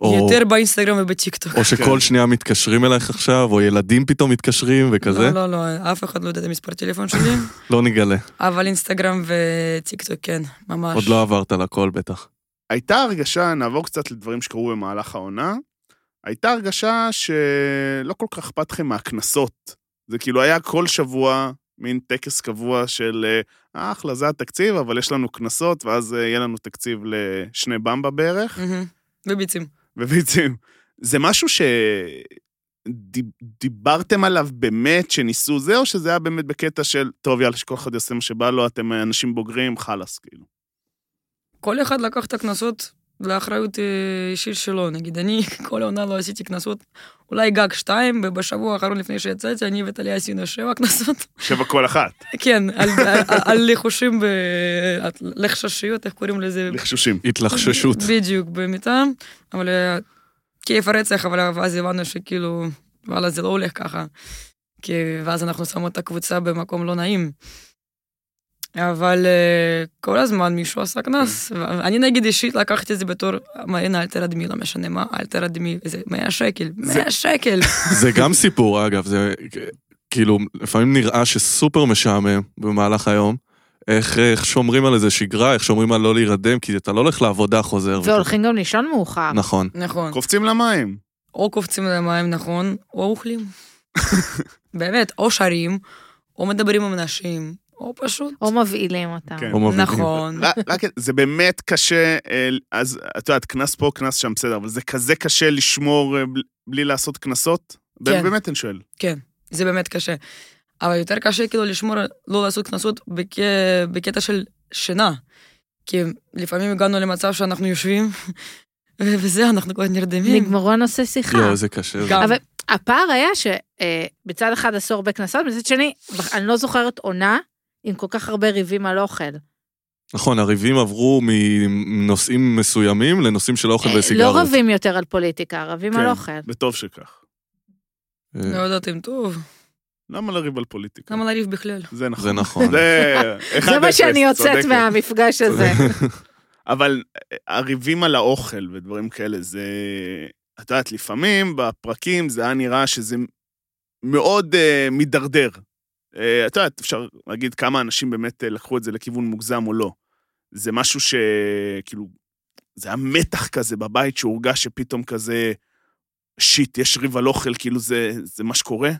C: או,
D: יותר באינסטגרם ובטיקטוק.
C: או
A: כן.
C: שכל שנייה מתקשרים אלייך עכשיו, או ילדים פתאום מתקשרים וכזה?
D: לא, לא, לא, אף אחד לא יודע את המספר טלפון שלי,
C: לא נגלה.
D: אבל אינסטגרם וטיקטוק, כן, ממש.
C: עוד לא עברת על הכל בטח.
A: הייתה הרגשה, נעבור קצת לדברים שקרו במהלך העונה, הייתה הרגשה שלא כל כך אכפת לכם מהקנסות. זה כאילו היה כל שבוע מין טקס קבוע של, אה, אחלה, זה התקציב, אבל יש לנו קנסות, ואז אה, יהיה לנו תקציב לשני במבה בערך,
D: מהמם. בביצים.
A: ובעצם, זה משהו ש... דיב- דיברתם עליו באמת, שניסו זה, או שזה היה באמת בקטע של, טוב, יאללה, שכל אחד יעשה מה שבא לו, אתם אה, אנשים בוגרים, חלאס, כאילו.
D: כל אחד לקח את הקנסות לאחריות אה, אישית שלו, נגיד, אני כל העונה לא עשיתי קנסות, אולי גג שתיים, ובשבוע האחרון לפני שיצאתי, אני וטליה עשינו שבע קנסות.
A: שבע כל אחת,
D: כן, על- על- על לחושים, ב- לחששיות, איך קוראים לזה?
A: לחשושים.
C: התלחששות.
D: בדיוק, במיטה, אבל אה, כיף הרצח, אבל אז הבנו שכאילו, וואלה, זה לא הולך ככה. כי ואז אנחנו שמות את הקבוצה במקום לא נעים. אבל אה, כל הזמן מישהו עשה קנס. אני נגיד אישית לקחתי את זה בתור, מרינה, אל תרדמי, לא משנה מה, אל תרדמי, זה 100 שקל, 100 שקל.
C: זה גם סיפור, אגב, זה כאילו, לפעמים נראה שסופר משעמם במהלך היום. איך, איך שומרים על איזה שגרה, איך שומרים על לא להירדם, כי אתה לא הולך לעבודה חוזר.
B: והולכים גם לישון מאוחר.
C: נכון.
D: נכון.
A: קופצים למים.
D: או קופצים למים, נכון, או אוכלים. באמת, או שרים, או מדברים עם אנשים, או פשוט...
B: או מבהילים אותם.
A: כן.
C: או מובילים.
D: נכון.
A: רק- רק את- כן, זה באמת קשה, אה, אז את יודעת, קנס פה, קנס שם, בסדר, אבל זה כזה קשה לשמור אה, בל- בלי לעשות קנסות?
D: כן.
A: באמת אני שואל.
D: זה באמת קשה. אבל יותר קשה כאילו לשמור, על- לא לעשות קנסות בק... בקטע של שינה. כי לפעמים הגענו למצב שאנחנו יושבים, ובזה אנחנו כבר נרדמים.
B: נגמרו הנושא שיחה.
C: יואו, לא, איזה קשה. זה.
D: גם.
B: אבל הפער היה שבצד אחד עשו הרבה קנסות, מצד שני, אני לא זוכרת עונה עם כל כך הרבה ריבים על אוכל. אה,
C: נכון, הריבים עברו מנושאים מסוימים לנושאים של אוכל
B: אה,
C: וסיגריות.
B: לא רבים יותר על פוליטיקה, רבים על
A: כן.
B: אוכל.
A: וטוב שכך.
C: אה,
D: לא יודעת אם טוב,
A: למה לריב על פוליטיקה?
D: למה לריב בכלל?
A: זה נכון.
C: זה נכון.
A: זה
B: זה מה
A: 1-0,
B: שאני יוצאת
A: צודקת.
B: מהמפגש הזה.
A: אבל אה, הריבים על האוכל ודברים כאלה, זה... את יודעת, לפעמים בפרקים זה היה נראה שזה מאוד uh, מידרדר. Uh, את יודעת, אפשר להגיד כמה אנשים באמת אה, לקחו את זה לכיוון מוגזם או לא. זה משהו שכאילו, זה היה מתח כזה בבית שהורגש שפתאום כזה, שיט, יש ריב על אוכל, כאילו זה, זה מה שקורה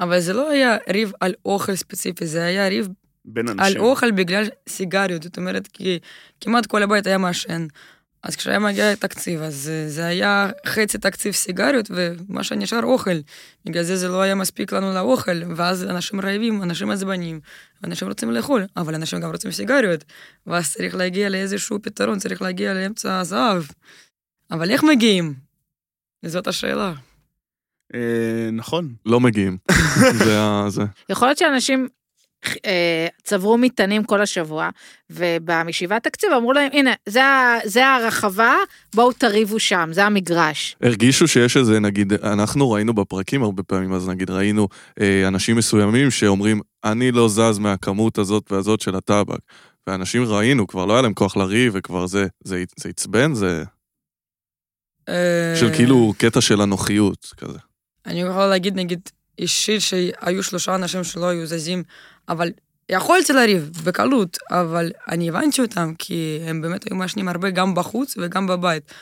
D: אבל זה לא היה ריב על אוכל ספציפי, זה היה ריב
A: בין אנשים.
D: על אוכל בגלל סיגריות, זאת אומרת, כי כמעט כל הבית היה מעשן. אז כשהיה מגיע תקציב, אז אה, זה היה חצי תקציב סיגריות, ומה שנשאר אוכל. בגלל זה זה לא היה מספיק לנו לאוכל, ואז אנשים רעבים, אנשים עצבנים, אנשים רוצים לאכול, אבל אנשים גם רוצים סיגריות. ואז צריך להגיע לאיזשהו פתרון, צריך להגיע לאמצע הזהב. אבל איך מגיעים? זאת השאלה.
A: אה, נכון.
C: לא מגיעים. זה ה... זה.
B: יכול להיות שאנשים אה, צברו מטענים כל השבוע, ובמשבעת תקציב אמרו להם, הנה, זה ה- זה הרחבה, בואו תריבו שם, זה המגרש.
C: הרגישו שיש איזה, נגיד, אנחנו ראינו בפרקים הרבה פעמים, אז נגיד ראינו אה, אנשים מסוימים שאומרים, אני לא זז מהכמות הזאת והזאת של הטבק. ואנשים ראינו, כבר לא היה להם כוח לריב, וכבר זה, זה, זה עצבן, זה
D: אה,
C: של כאילו קטע של אנוכיות כזה.
D: אני יכולה להגיד, נגיד, אישית שהיו שלושה אנשים שלא היו זזים, אבל יכולתי לריב בקלות, אבל אני הבנתי אותם, כי הם באמת היו מעשנים הרבה גם בחוץ וגם בבית.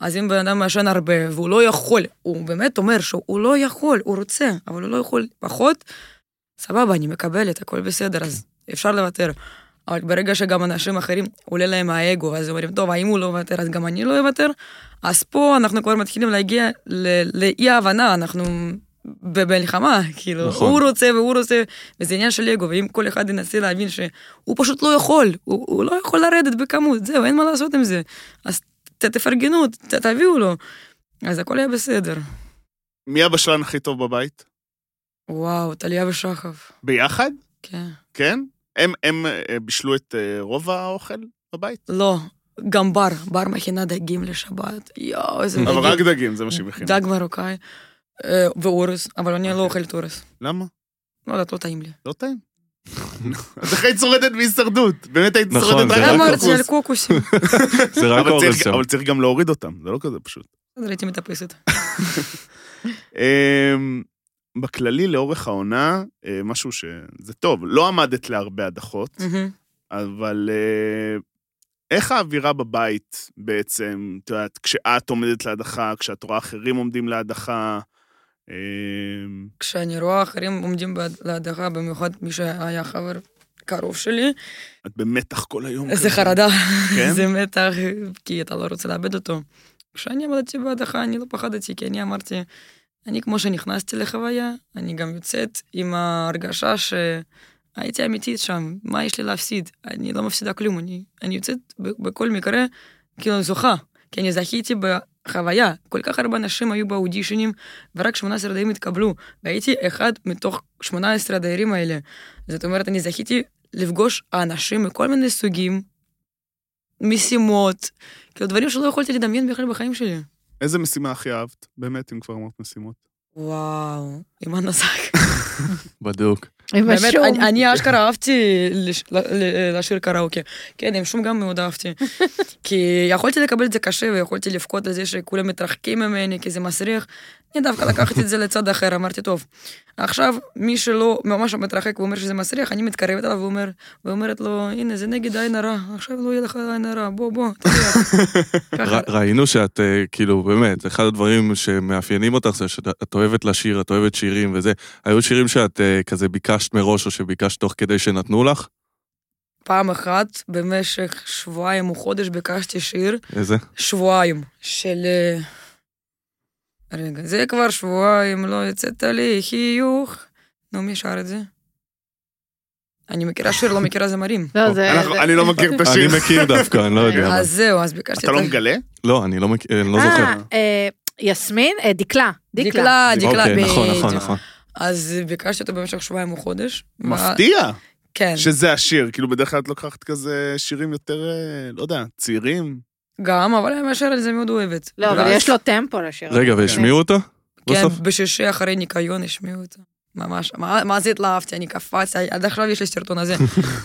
D: אז אם בן אדם מעשן הרבה והוא לא יכול, הוא באמת אומר שהוא לא יכול, הוא רוצה, אבל הוא לא יכול פחות, סבבה, אני מקבלת, הכל בסדר, אז אפשר לוותר. אבל ברגע שגם אנשים אחרים עולה להם האגו, אז אומרים, טוב, האם הוא לא יוותר, אז גם אני לא אוותר. אז פה אנחנו כבר מתחילים להגיע ל- לאי-הבנה, אנחנו במלחמה, כאילו,
C: נכון.
D: נכון. הוא רוצה והוא רוצה, וזה עניין של אגו, ואם כל אחד ינסה להבין שהוא פשוט לא יכול, הוא, הוא לא יכול לרדת בכמות, זהו, אין מה לעשות עם זה. אז ת, תפרגנו, ת, תביאו לו. אז הכל היה בסדר.
A: מי הבשלן הכי טוב בבית?
D: וואו, טליה ושחף,
A: ביחד?
D: כן.
A: כן? הם, הם אה, בישלו את אה, רוב האוכל בבית?
D: לא, גם בר, בר מכינה דגים לשבת, יואו, איזה
A: אבל רק
D: דגים.
A: דגים, זה מה שהם הכינו.
D: דג מרוקאי. אה, ואורס, אבל אני לא אוכלת אורס.
A: למה?
D: לא יודעת, לא טעים לי.
A: לא טעים. אז איך היית שורדת בהישרדות? באמת היית
C: נכון,
A: שורדת
C: זה רק
A: רק
D: למה
A: על
D: אורס זה על
A: קוקוס.
D: קוקוסים?
C: זה רק
A: אבל
C: אורז
A: צריך-
C: שם.
A: אבל צריך גם להוריד אותם, זה לא כזה פשוט.
D: אז הייתי מטפסת.
A: אמ, בכללי, לאורך העונה, אה, משהו שזה טוב, לא עמדת להרבה הדחות,
D: מהמם.
A: אבל אה, איך האווירה בבית בעצם, את יודעת, כשאת עומדת להדחה, כשאת רואה אחרים עומדים להדחה, אמ,
D: כשאני רואה אחרים עומדים בעד- להדחה, במיוחד מי שהיה חבר קרוב שלי,
A: את במתח כל היום.
D: זה
A: כזה.
D: חרדה,
A: כן?
D: זה מתח, כי אתה לא רוצה לאבד אותו. כשאני עמדתי בהדחה, אני לא פחדתי, כי אני אמרתי, אני כמו שנכנסתי לחוויה, אני גם יוצאת עם ההרגשה שהייתי אמיתית שם, מה יש לי להפסיד? אני לא מפסידה כלום, אני, אני יוצאת ב- בכל מקרה כאילו זוכה, כי אני זכיתי בחוויה. כל כך הרבה אנשים היו באודישנים, ורק 18 דיירים התקבלו, והייתי אחד מתוך 18 הדיירים האלה. זאת אומרת, אני זכיתי לפגוש אנשים מכל מיני סוגים, משימות, כאילו דברים שלא יכולתי לדמיין בכלל בחיים שלי.
A: איזה משימה הכי אהבת? באמת, אם כבר אמרת משימות.
D: וואו, אימן נזק.
C: בדיוק.
B: עם
D: באמת,
B: השום.
D: אני- אני אשכרה אהבתי לש- ל- ל- לשיר קראוקה. כן, עם שום גם מאוד אהבתי. כי יכולתי לקבל את זה קשה ויכולתי לבכות על זה שכולם מתרחקים ממני, כי זה מסריח. אני דווקא לקחתי את זה לצד אחר, אמרתי, טוב, עכשיו מי שלא ממש מתרחק ואומר שזה מסריח, אני מתקרבת אליו ואומר, ואומרת לו, הנה, זה נגד עין הרע, עכשיו לא יהיה לך עין הרע, בוא, בוא, תריח. ככה,
C: ר- ראינו שאת, אה, כאילו, באמת, אחד הדברים שמאפיינים אותך זה שאת אוהבת לשיר, את אוהבת שירים וזה. היו שירים שאת אה, כזה ביקשת מראש, או שביקשת תוך כדי שנתנו לך?
D: פעם אחת, במשך שבועיים או חודש ביקשתי שיר,
C: איזה?
D: שבועיים של... אה, רגע, זה כבר שבועיים, לא יצאת לי חיוך. נו, מי שר את זה? אני מכירה שיר, לא מכירה זמרים.
B: לא, זה...
A: אנחנו-
B: זה-
A: אני לא מכיר את
C: אני
A: השיר.
C: מכיר דווקא, אני לא יודע. אבל-
D: אה, אז זהו, אז ביקשתי...
A: אתה לא
D: את-
A: מגלה?
C: לא, אני לא מכיר, אני לא
B: אה,
C: זוכר.
B: אה, יסמין? אה, דקלה. דקלה.
D: דקלה, דקלה,
C: אוקיי, נכון,
D: בדיוק.
C: נכון, נכון.
D: אז ביקשתי אותו במשך שבועיים או חודש.
A: מפתיע
D: כן,
A: שזה השיר. כאילו, בדרך כלל את לוקחת כזה שירים יותר, אה, לא יודע, צעירים.
D: גם, אבל אני מאשר על זה מאוד אוהבת.
B: לא, אבל
A: ואז-
B: יש לו טמפו לשיר. הזה.
C: רגע, והשמיעו אותה?
D: כן,
C: בסוף?
D: בשישי אחרי ניקיון השמיעו אותו. ממש, מה מה זה התלהבתי, אני קפצתי, עד עכשיו יש לי סרטון הזה.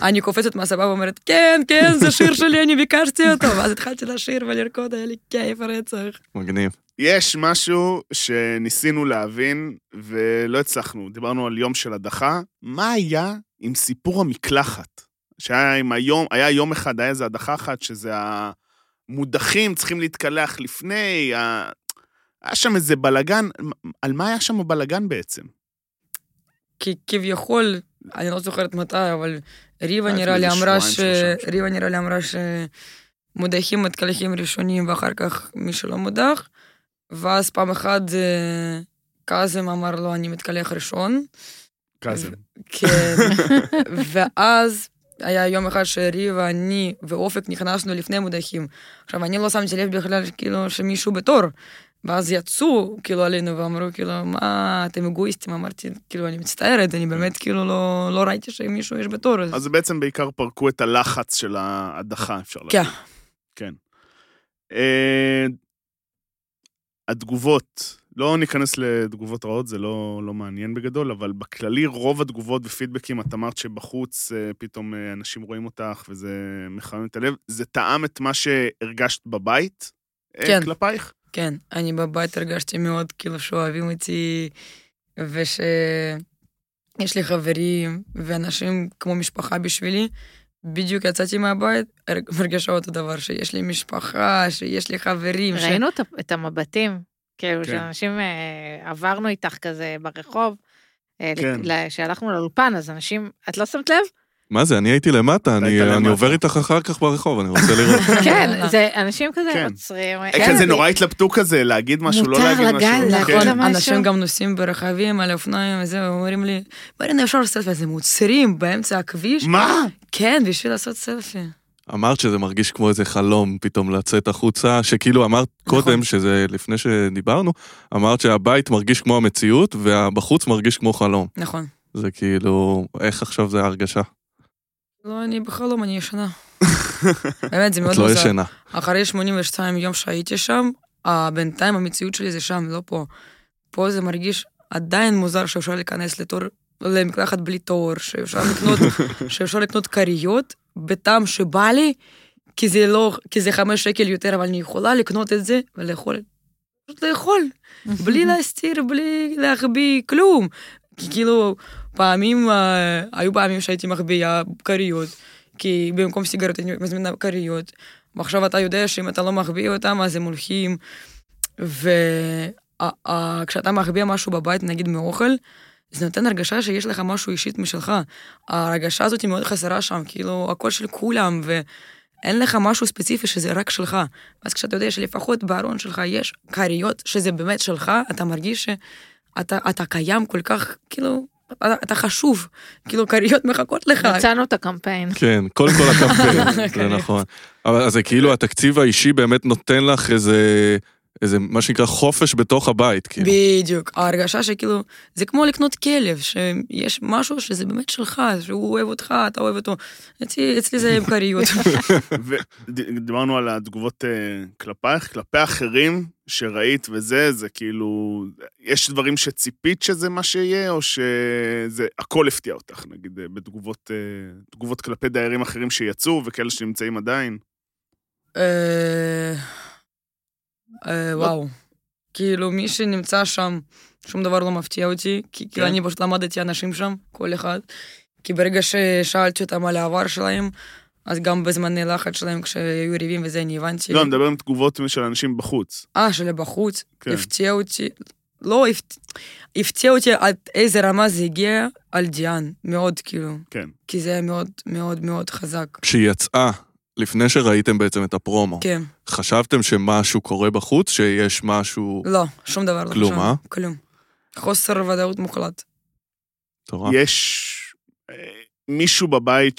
D: אני קופצת מהסבבה ואומרת, כן, כן, זה שיר שלי, אני ביקשתי אותו. ואז התחלתי לשיר ולרקוד, היה לי כיף רצח.
C: מגניב.
A: יש משהו שניסינו להבין ולא הצלחנו. דיברנו על יום של הדחה. מה היה עם סיפור המקלחת? שהיה עם היום, היה יום אחד, היה איזו הדחה אחת, שזה המודחים צריכים להתקלח לפני, ה... היה שם איזה בלגן. על מה היה שם הבלגן בעצם?
D: כי כביכול, אני לא זוכרת מתי, אבל ריבה
A: היה
D: נראה לי
A: לפני
D: אמרה
A: שבועיים,
D: ש...
A: שלושה, משהו.
D: ריבה נראה לי אמרה שמודחים מתקלחים ראשונים ואחר כך מי שלא מודח. ואז פעם אחת אה, קאזם אמר לו, אני מתקלח ראשון.
A: קאזם.
D: כן, ואז היה יום אחד שריבה, אני ואופק נכנסנו לפני מודחים. עכשיו, אני לא שמתי לב בכלל, כאילו, שמישהו בתור. ואז יצאו, כאילו, עלינו ואמרו, כאילו, מה, אתם אגואיסטים? אמרתי, כאילו, אני מצטערת, אני באמת, כאילו, לא, לא ראיתי שמישהו יש בתור. אז...
A: אז זה בעצם בעיקר פרקו את הלחץ של ההדחה, אפשר להגיד.
D: כן.
A: כן. אה, התגובות, לא ניכנס לתגובות רעות, זה לא, לא מעניין בגדול, אבל בכללי רוב התגובות ופידבקים, את אמרת שבחוץ אה, פתאום אה, אנשים רואים אותך וזה מחמם את הלב, זה טעם את מה שהרגשת בבית אה,
D: כן.
A: כלפייך?
D: כן, אני בבית הרגשתי מאוד, כאילו, שאוהבים אותי, ושיש לי חברים ואנשים כמו משפחה בשבילי. בדיוק יצאתי מהבית, הר- מרגישה אותו דבר, שיש לי משפחה, שיש לי חברים. ש-
B: ראינו את ה- את המבטים, כאילו,
A: כן.
B: שאנשים אה, עברנו איתך כזה ברחוב. אה,
A: כן.
B: ל- כשהלכנו לאולפן, אז אנשים, את לא שמת לב?
C: מה זה, אני הייתי למטה, אני-
A: למטה.
C: אני עובר איתך אחר כך ברחוב, אני רוצה לראות.
B: כן, זה אנשים כזה
A: כן.
B: עוצרים.
A: אה, כזה נורא התלבטו כזה, להגיד משהו, לא
B: מותר
A: להגיד משהו.
B: לגעת, להגיד
A: כן.
B: לה משהו.
D: נכון, אנשים גם נוסעים ברכבים על אופניים וזה, ואומרים לי, מרינה, אפשר לעשות סלפי, אז הם עוצרים באמצע הכביש,
A: מה?
D: כן, בשביל לעשות סלפי.
C: אמרת שזה מרגיש כמו איזה חלום פתאום לצאת החוצה, שכאילו אמרת
D: נכון.
C: קודם, שזה לפני שדיברנו, אמרת שהבית מרגיש כמו המציאות והבחוץ מרגיש כמו חלום.
D: נכון.
C: זה כאילו, איך עכשיו זה ההרגשה?
D: לא, אני בחלום, אני ישנה. באמת, זה מאוד
C: את לא
D: מוזר.
C: ישנה.
D: אחרי 82 יום שהייתי שם, אה, בינתיים המציאות שלי זה שם, לא פה. פה זה מרגיש עדיין מוזר שאפשר להיכנס לתור, למקלחת בלי תור, שאפשר לקנות, שאפשר לקנות כריות בטעם שבא לי, כי זה לא, כי זה חמש שקל יותר, אבל אני יכולה לקנות את זה ולאכול. פשוט לאכול, בלי להסתיר, בלי להחביא, כלום. כי כאילו, פעמים, אה, היו פעמים שהייתי מחביאה כריות, כי במקום סיגריות אני מזמינה כריות. ועכשיו אתה יודע שאם אתה לא מחביא אותם, אז הם הולכים. וכשאתה מחביא משהו בבית, נגיד מאוכל, זה נותן הרגשה שיש לך משהו אישית משלך. ההרגשה הזאת היא מאוד חסרה שם, כאילו, הכל של כולם, ואין לך משהו ספציפי שזה רק שלך. אז כשאתה יודע שלפחות בארון שלך יש כריות שזה באמת שלך, אתה מרגיש שאתה אתה קיים כל כך, כאילו, אתה, אתה חשוב, כאילו, כריות מחכות לך.
B: נכון." מצאנו את הקמפיין.
C: כן, קודם כל הקמפיין, זה
D: כן.
C: נכון. אבל אז זה כאילו התקציב האישי באמת נותן לך איזה, איזה מה שנקרא חופש בתוך הבית, כאילו.
D: בדיוק, ההרגשה שכאילו, זה כמו לקנות כלב, שיש משהו שזה באמת שלך, שהוא אוהב אותך, אתה אוהב אותו. אצלי, אצלי זה עם כריות.
A: ודיברנו על התגובות אה, כלפייך, כלפי אחרים שראית וזה, זה כאילו, יש דברים שציפית שזה מה שיהיה, או שזה, הכל הפתיע אותך, נגיד, אה, בתגובות אה, תגובות כלפי דיירים אחרים שיצאו וכאלה שנמצאים עדיין.
D: אה, אה, וואו. כאילו, מי שנמצא שם, שום דבר לא מפתיע אותי, כי כאילו
A: כן.
D: אני פשוט למדתי אנשים שם, כל אחד. כי ברגע ששאלתי אותם על העבר שלהם, אז גם בזמני לחץ שלהם, כשהיו ריבים וזה, אני הבנתי.
A: לא, אני מדבר עם תגובות של אנשים בחוץ.
D: אה, שלי בחוץ,
A: כן.
D: הפתיע אותי. לא, הפת- הפתיע אותי עד איזה רמה זה הגיע על דיאן, מאוד כאילו.
A: כן.
D: כי זה היה מאוד מאוד מאוד חזק.
C: כשהיא יצאה, לפני שראיתם בעצם את הפרומו,
D: כן,
C: חשבתם שמשהו קורה בחוץ, שיש משהו...
D: לא, שום דבר לא
C: כלום,
D: חשבנו,
C: אה?
D: כלום. חוסר ודאות מוחלט.
C: מטורף.
A: יש אה, מישהו בבית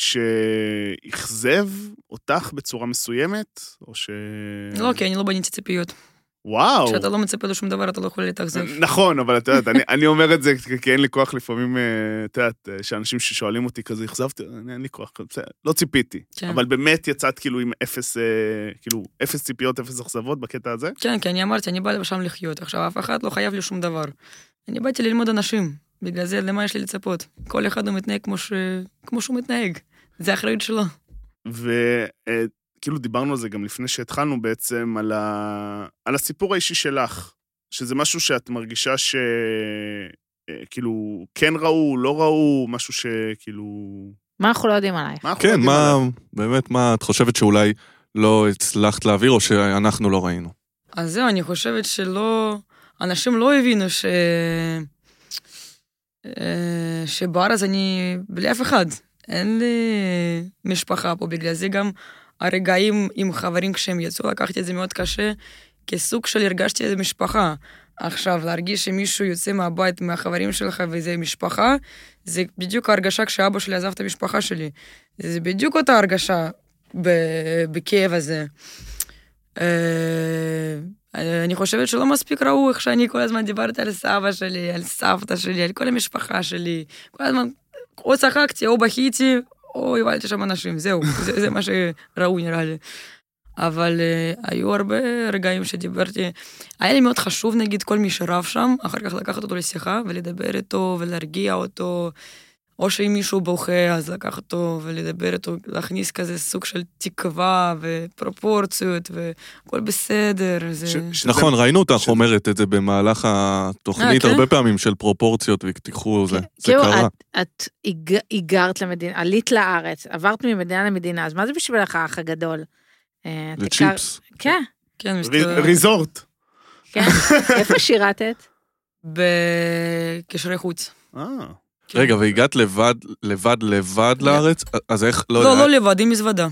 A: שאכזב אותך בצורה מסוימת, או ש...
D: לא, כי אני לא בניתי ציפיות.
A: וואו.
D: כשאתה לא מצפה לשום דבר, אתה לא יכול להתאכזב.
A: נכון, אבל את יודעת, אני, אני אומר את זה כי אין לי כוח לפעמים, אה, את יודעת, אה, שאנשים ששואלים אותי כזה, אכזבתי, אני- אין לי כוח, בסדר, לא ציפיתי.
D: כן.
A: אבל באמת יצאת כאילו עם אפס, אה, כאילו, אפס ציפיות, אפס אכזבות בקטע הזה?
D: כן, כי אני אמרתי, אני בא לשם לחיות. עכשיו, אף אחד לא חייב לי שום דבר. אני באתי ללמוד אנשים. בגלל זה, למה יש לי לצפות? כל אחד הוא מתנהג כמו ש- כמו שהוא מתנהג. זה האחריות שלו.
A: וכאילו אה, כאילו דיברנו על זה גם לפני שהתחלנו בעצם, על, ה... על הסיפור האישי שלך, שזה משהו שאת מרגישה ש... אה, כאילו, כן ראו, לא ראו, משהו שכאילו...
B: מה אנחנו לא יודעים עלייך?
A: מה אנחנו
C: כן,
A: יודעים
C: מה,
A: עליו?
C: באמת, מה את חושבת שאולי לא הצלחת להעביר, או שאנחנו לא ראינו?
D: אז זהו, אני חושבת שלא... אנשים לא הבינו ש... אה, שבארץ אני בלי אף אחד. אין לי משפחה פה, בגלל זה גם הרגעים עם חברים כשהם יצאו, לקחתי את זה מאוד קשה, כסוג של הרגשתי איזה משפחה. עכשיו, להרגיש שמישהו יוצא מהבית, מהחברים שלך, וזה משפחה, זה בדיוק ההרגשה כשאבא שלי עזב את המשפחה שלי. זה בדיוק אותה הרגשה ב- בכאב הזה. אה, אני חושבת שלא מספיק ראו איך שאני כל הזמן דיברתי על סבא שלי, על סבתא שלי, על כל המשפחה שלי. כל הזמן או צחקתי, או בכיתי, או הבלתי שם אנשים, זהו, זה, זה מה שראו נראה לי. אבל uh, היו הרבה רגעים שדיברתי, היה לי מאוד חשוב נגיד כל מי שרב שם, אחר כך לקחת אותו לשיחה ולדבר איתו ולהרגיע אותו, או שאם מישהו בוכה אז לקחת אותו ולדבר איתו, להכניס כזה סוג של תקווה ופרופורציות והכל בסדר. זה...
A: ש- שזה-
C: נכון, ראינו אותך
A: שזה-
C: אומרת את זה במהלך התוכנית
D: אה, כן?
C: הרבה פעמים של פרופורציות ותיקחו
A: אה,
C: זה, זה
B: כאילו,
C: קרה.
B: את, את היג- היגרת למדינה, עלית לארץ, עברת ממדינה למדינה, אז מה זה בשבילך האח הגדול? אה, את
C: זה
B: הכר-
C: צ'יפס.
B: כן,
D: כן,
A: ר-
D: מסתבר.
A: ריזורט.
B: כן. איפה שירתת?
D: בקשרי חוץ.
A: אה.
D: כן.
C: רגע, והגעת לבד, לבד, לבד לארץ? אז איך, לא
D: לא,
C: יודע,
D: לא לבד, עם מזוודה.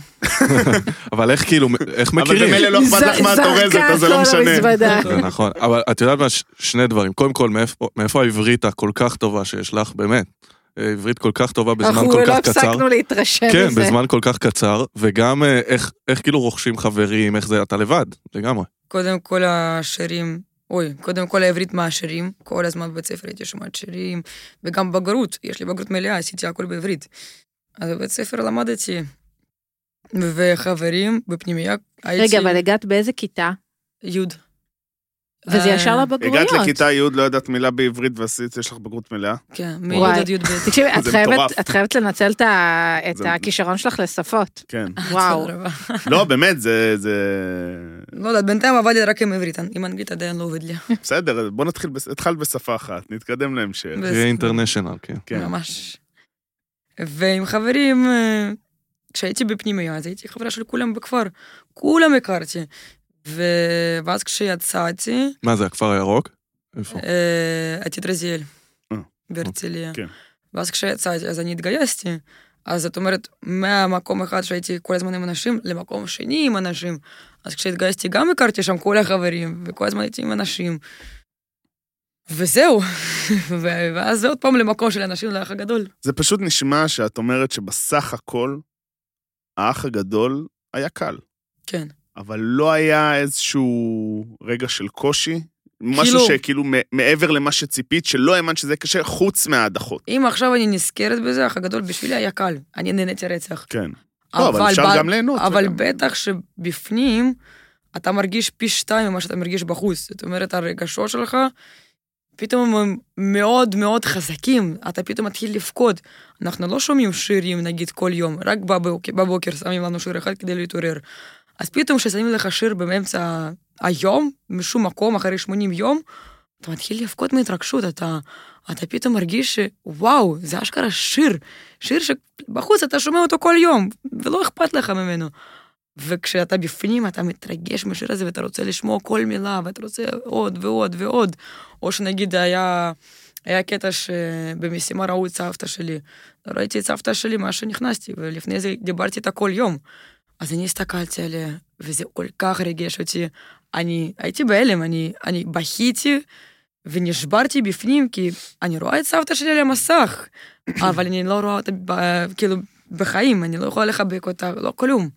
C: אבל איך כאילו, איך
A: אבל
C: מכירים?
A: במילא לא אכפת לך מה את
B: ז-
A: אורזת,
B: זרקה
A: אז זה לא
B: הכל
A: משנה.
B: למזוודה.
C: זה נכון, אבל את יודעת מה, ש- שני דברים. קודם כל, מאיפה- מאיפה העברית הכל כך טובה שיש לך, באמת? אה, עברית כל כך טובה בזמן
B: אנחנו
C: כל
B: לא
C: כך קצר.
B: הפסקנו להתרשם
C: כן,
B: מזה.
C: בזמן כל כך קצר, וגם אה, איך, איך כאילו רוכשים חברים, איך זה, אתה לבד, לגמרי.
D: קודם כל השירים, אוי, קודם כל העברית מהשירים, כל הזמן בבית ספר הייתי שומעת שירים, וגם בגרות, יש לי בגרות מלאה, עשיתי הכל בעברית. אז בבית ספר למדתי, וחברים בפנימייה הייתי...
B: רגע, אבל הגעת באיזה כיתה?
D: יוד.
B: וזה
D: אה,
B: ישר לבגרויות.
A: הגעת לכיתה י', לא ידעת מילה בעברית ועשית, יש לך בגרות מלאה.
D: כן, מיוד
B: וואי.
D: עד יוד בית.
B: תקשיבי, את
A: זה
B: חייבת-
A: מטורף.
B: את חייבת לנצל את ה- את
A: זה-
B: הכישרון שלך לשפות.
A: כן.
B: וואו.
A: לא, באמת, זה... זה...
D: לא יודעת, בינתיים עבדתי רק עם עברית, עם אנגלית עדיין לא עובד לי.
A: בסדר, בוא נתחיל, בס- התחלת בשפה אחת, נתקדם להמשך.
D: ו-
C: תהיה אינטרנשיונל, כן.
A: כן.
D: ממש. ועם חברים, אה, כשהייתי בפנימיה, אז הייתי חברה של כולם בכפר. כולם הכרתי. ו... ואז כשיצאתי,
C: מה זה, הכפר הירוק? איפה?
D: אה, עתיד רזיאל,
A: אה,
D: בהרצליה.
A: כן.
D: ואז כשיצאתי, אז אני התגייסתי. אז זאת אומרת, מהמקום אחד שהייתי כל הזמן עם אנשים, למקום שני עם אנשים. אז כשהתגייסתי גם הכרתי שם כל החברים, וכל הזמן הייתי עם אנשים. וזהו. ו- ואז זה עוד פעם למקום של אנשים לאח הגדול.
A: זה פשוט נשמע שאת אומרת שבסך הכל, האח הגדול היה קל,
D: כן.
A: אבל לא היה איזשהו רגע של קושי, משהו
D: כאילו-
A: שכאילו מ- מעבר למה שציפית, שלא האמנת שזה קשה, חוץ מההדחות.
D: אם עכשיו אני נזכרת בזה, האח הגדול בשבילי היה קל. אני נהניתי רצח.
A: כן. לא, אבל אפשר
D: ב-
A: גם ליהנות.
D: אבל
A: וגם-
D: בטח שבפנים, אתה מרגיש פי שתיים ממה שאתה מרגיש בחוץ. זאת אומרת, הרגשות שלך, פתאום הם מאוד מאוד חזקים. אתה פתאום מתחיל לבכות. אנחנו לא שומעים שירים, נגיד, כל יום. רק בבוק- בבוקר שמים לנו שיר אחד כדי להתעורר. אז פתאום כששמים לך שיר באמצע היום, משום מקום, אחרי 80 יום, אתה מתחיל לבכות מהתרגשות, אתה, אתה פתאום מרגיש שוואו, זה אשכרה שיר, שיר שבחוץ אתה שומע אותו כל יום, ולא אכפת לך ממנו. וכשאתה בפנים, אתה מתרגש מהשיר הזה, ואתה רוצה לשמוע כל מילה, ואתה רוצה עוד ועוד ועוד. או שנגיד היה, היה קטע שבמשימה ראו את סבתא שלי. לא ראיתי את סבתא שלי מאז שנכנסתי, ולפני זה דיברתי איתה כל יום. אז אני הסתכלתי עליה, וזה כל כך ריגש אותי. אני הייתי בהלם, אני, אני בכיתי ונשברתי בפנים, כי אני רואה את סבתא שלי על המסך, אבל אני לא רואה אותה, ב- כאילו, בחיים, אני לא יכולה לחבק אותה, לא כלום.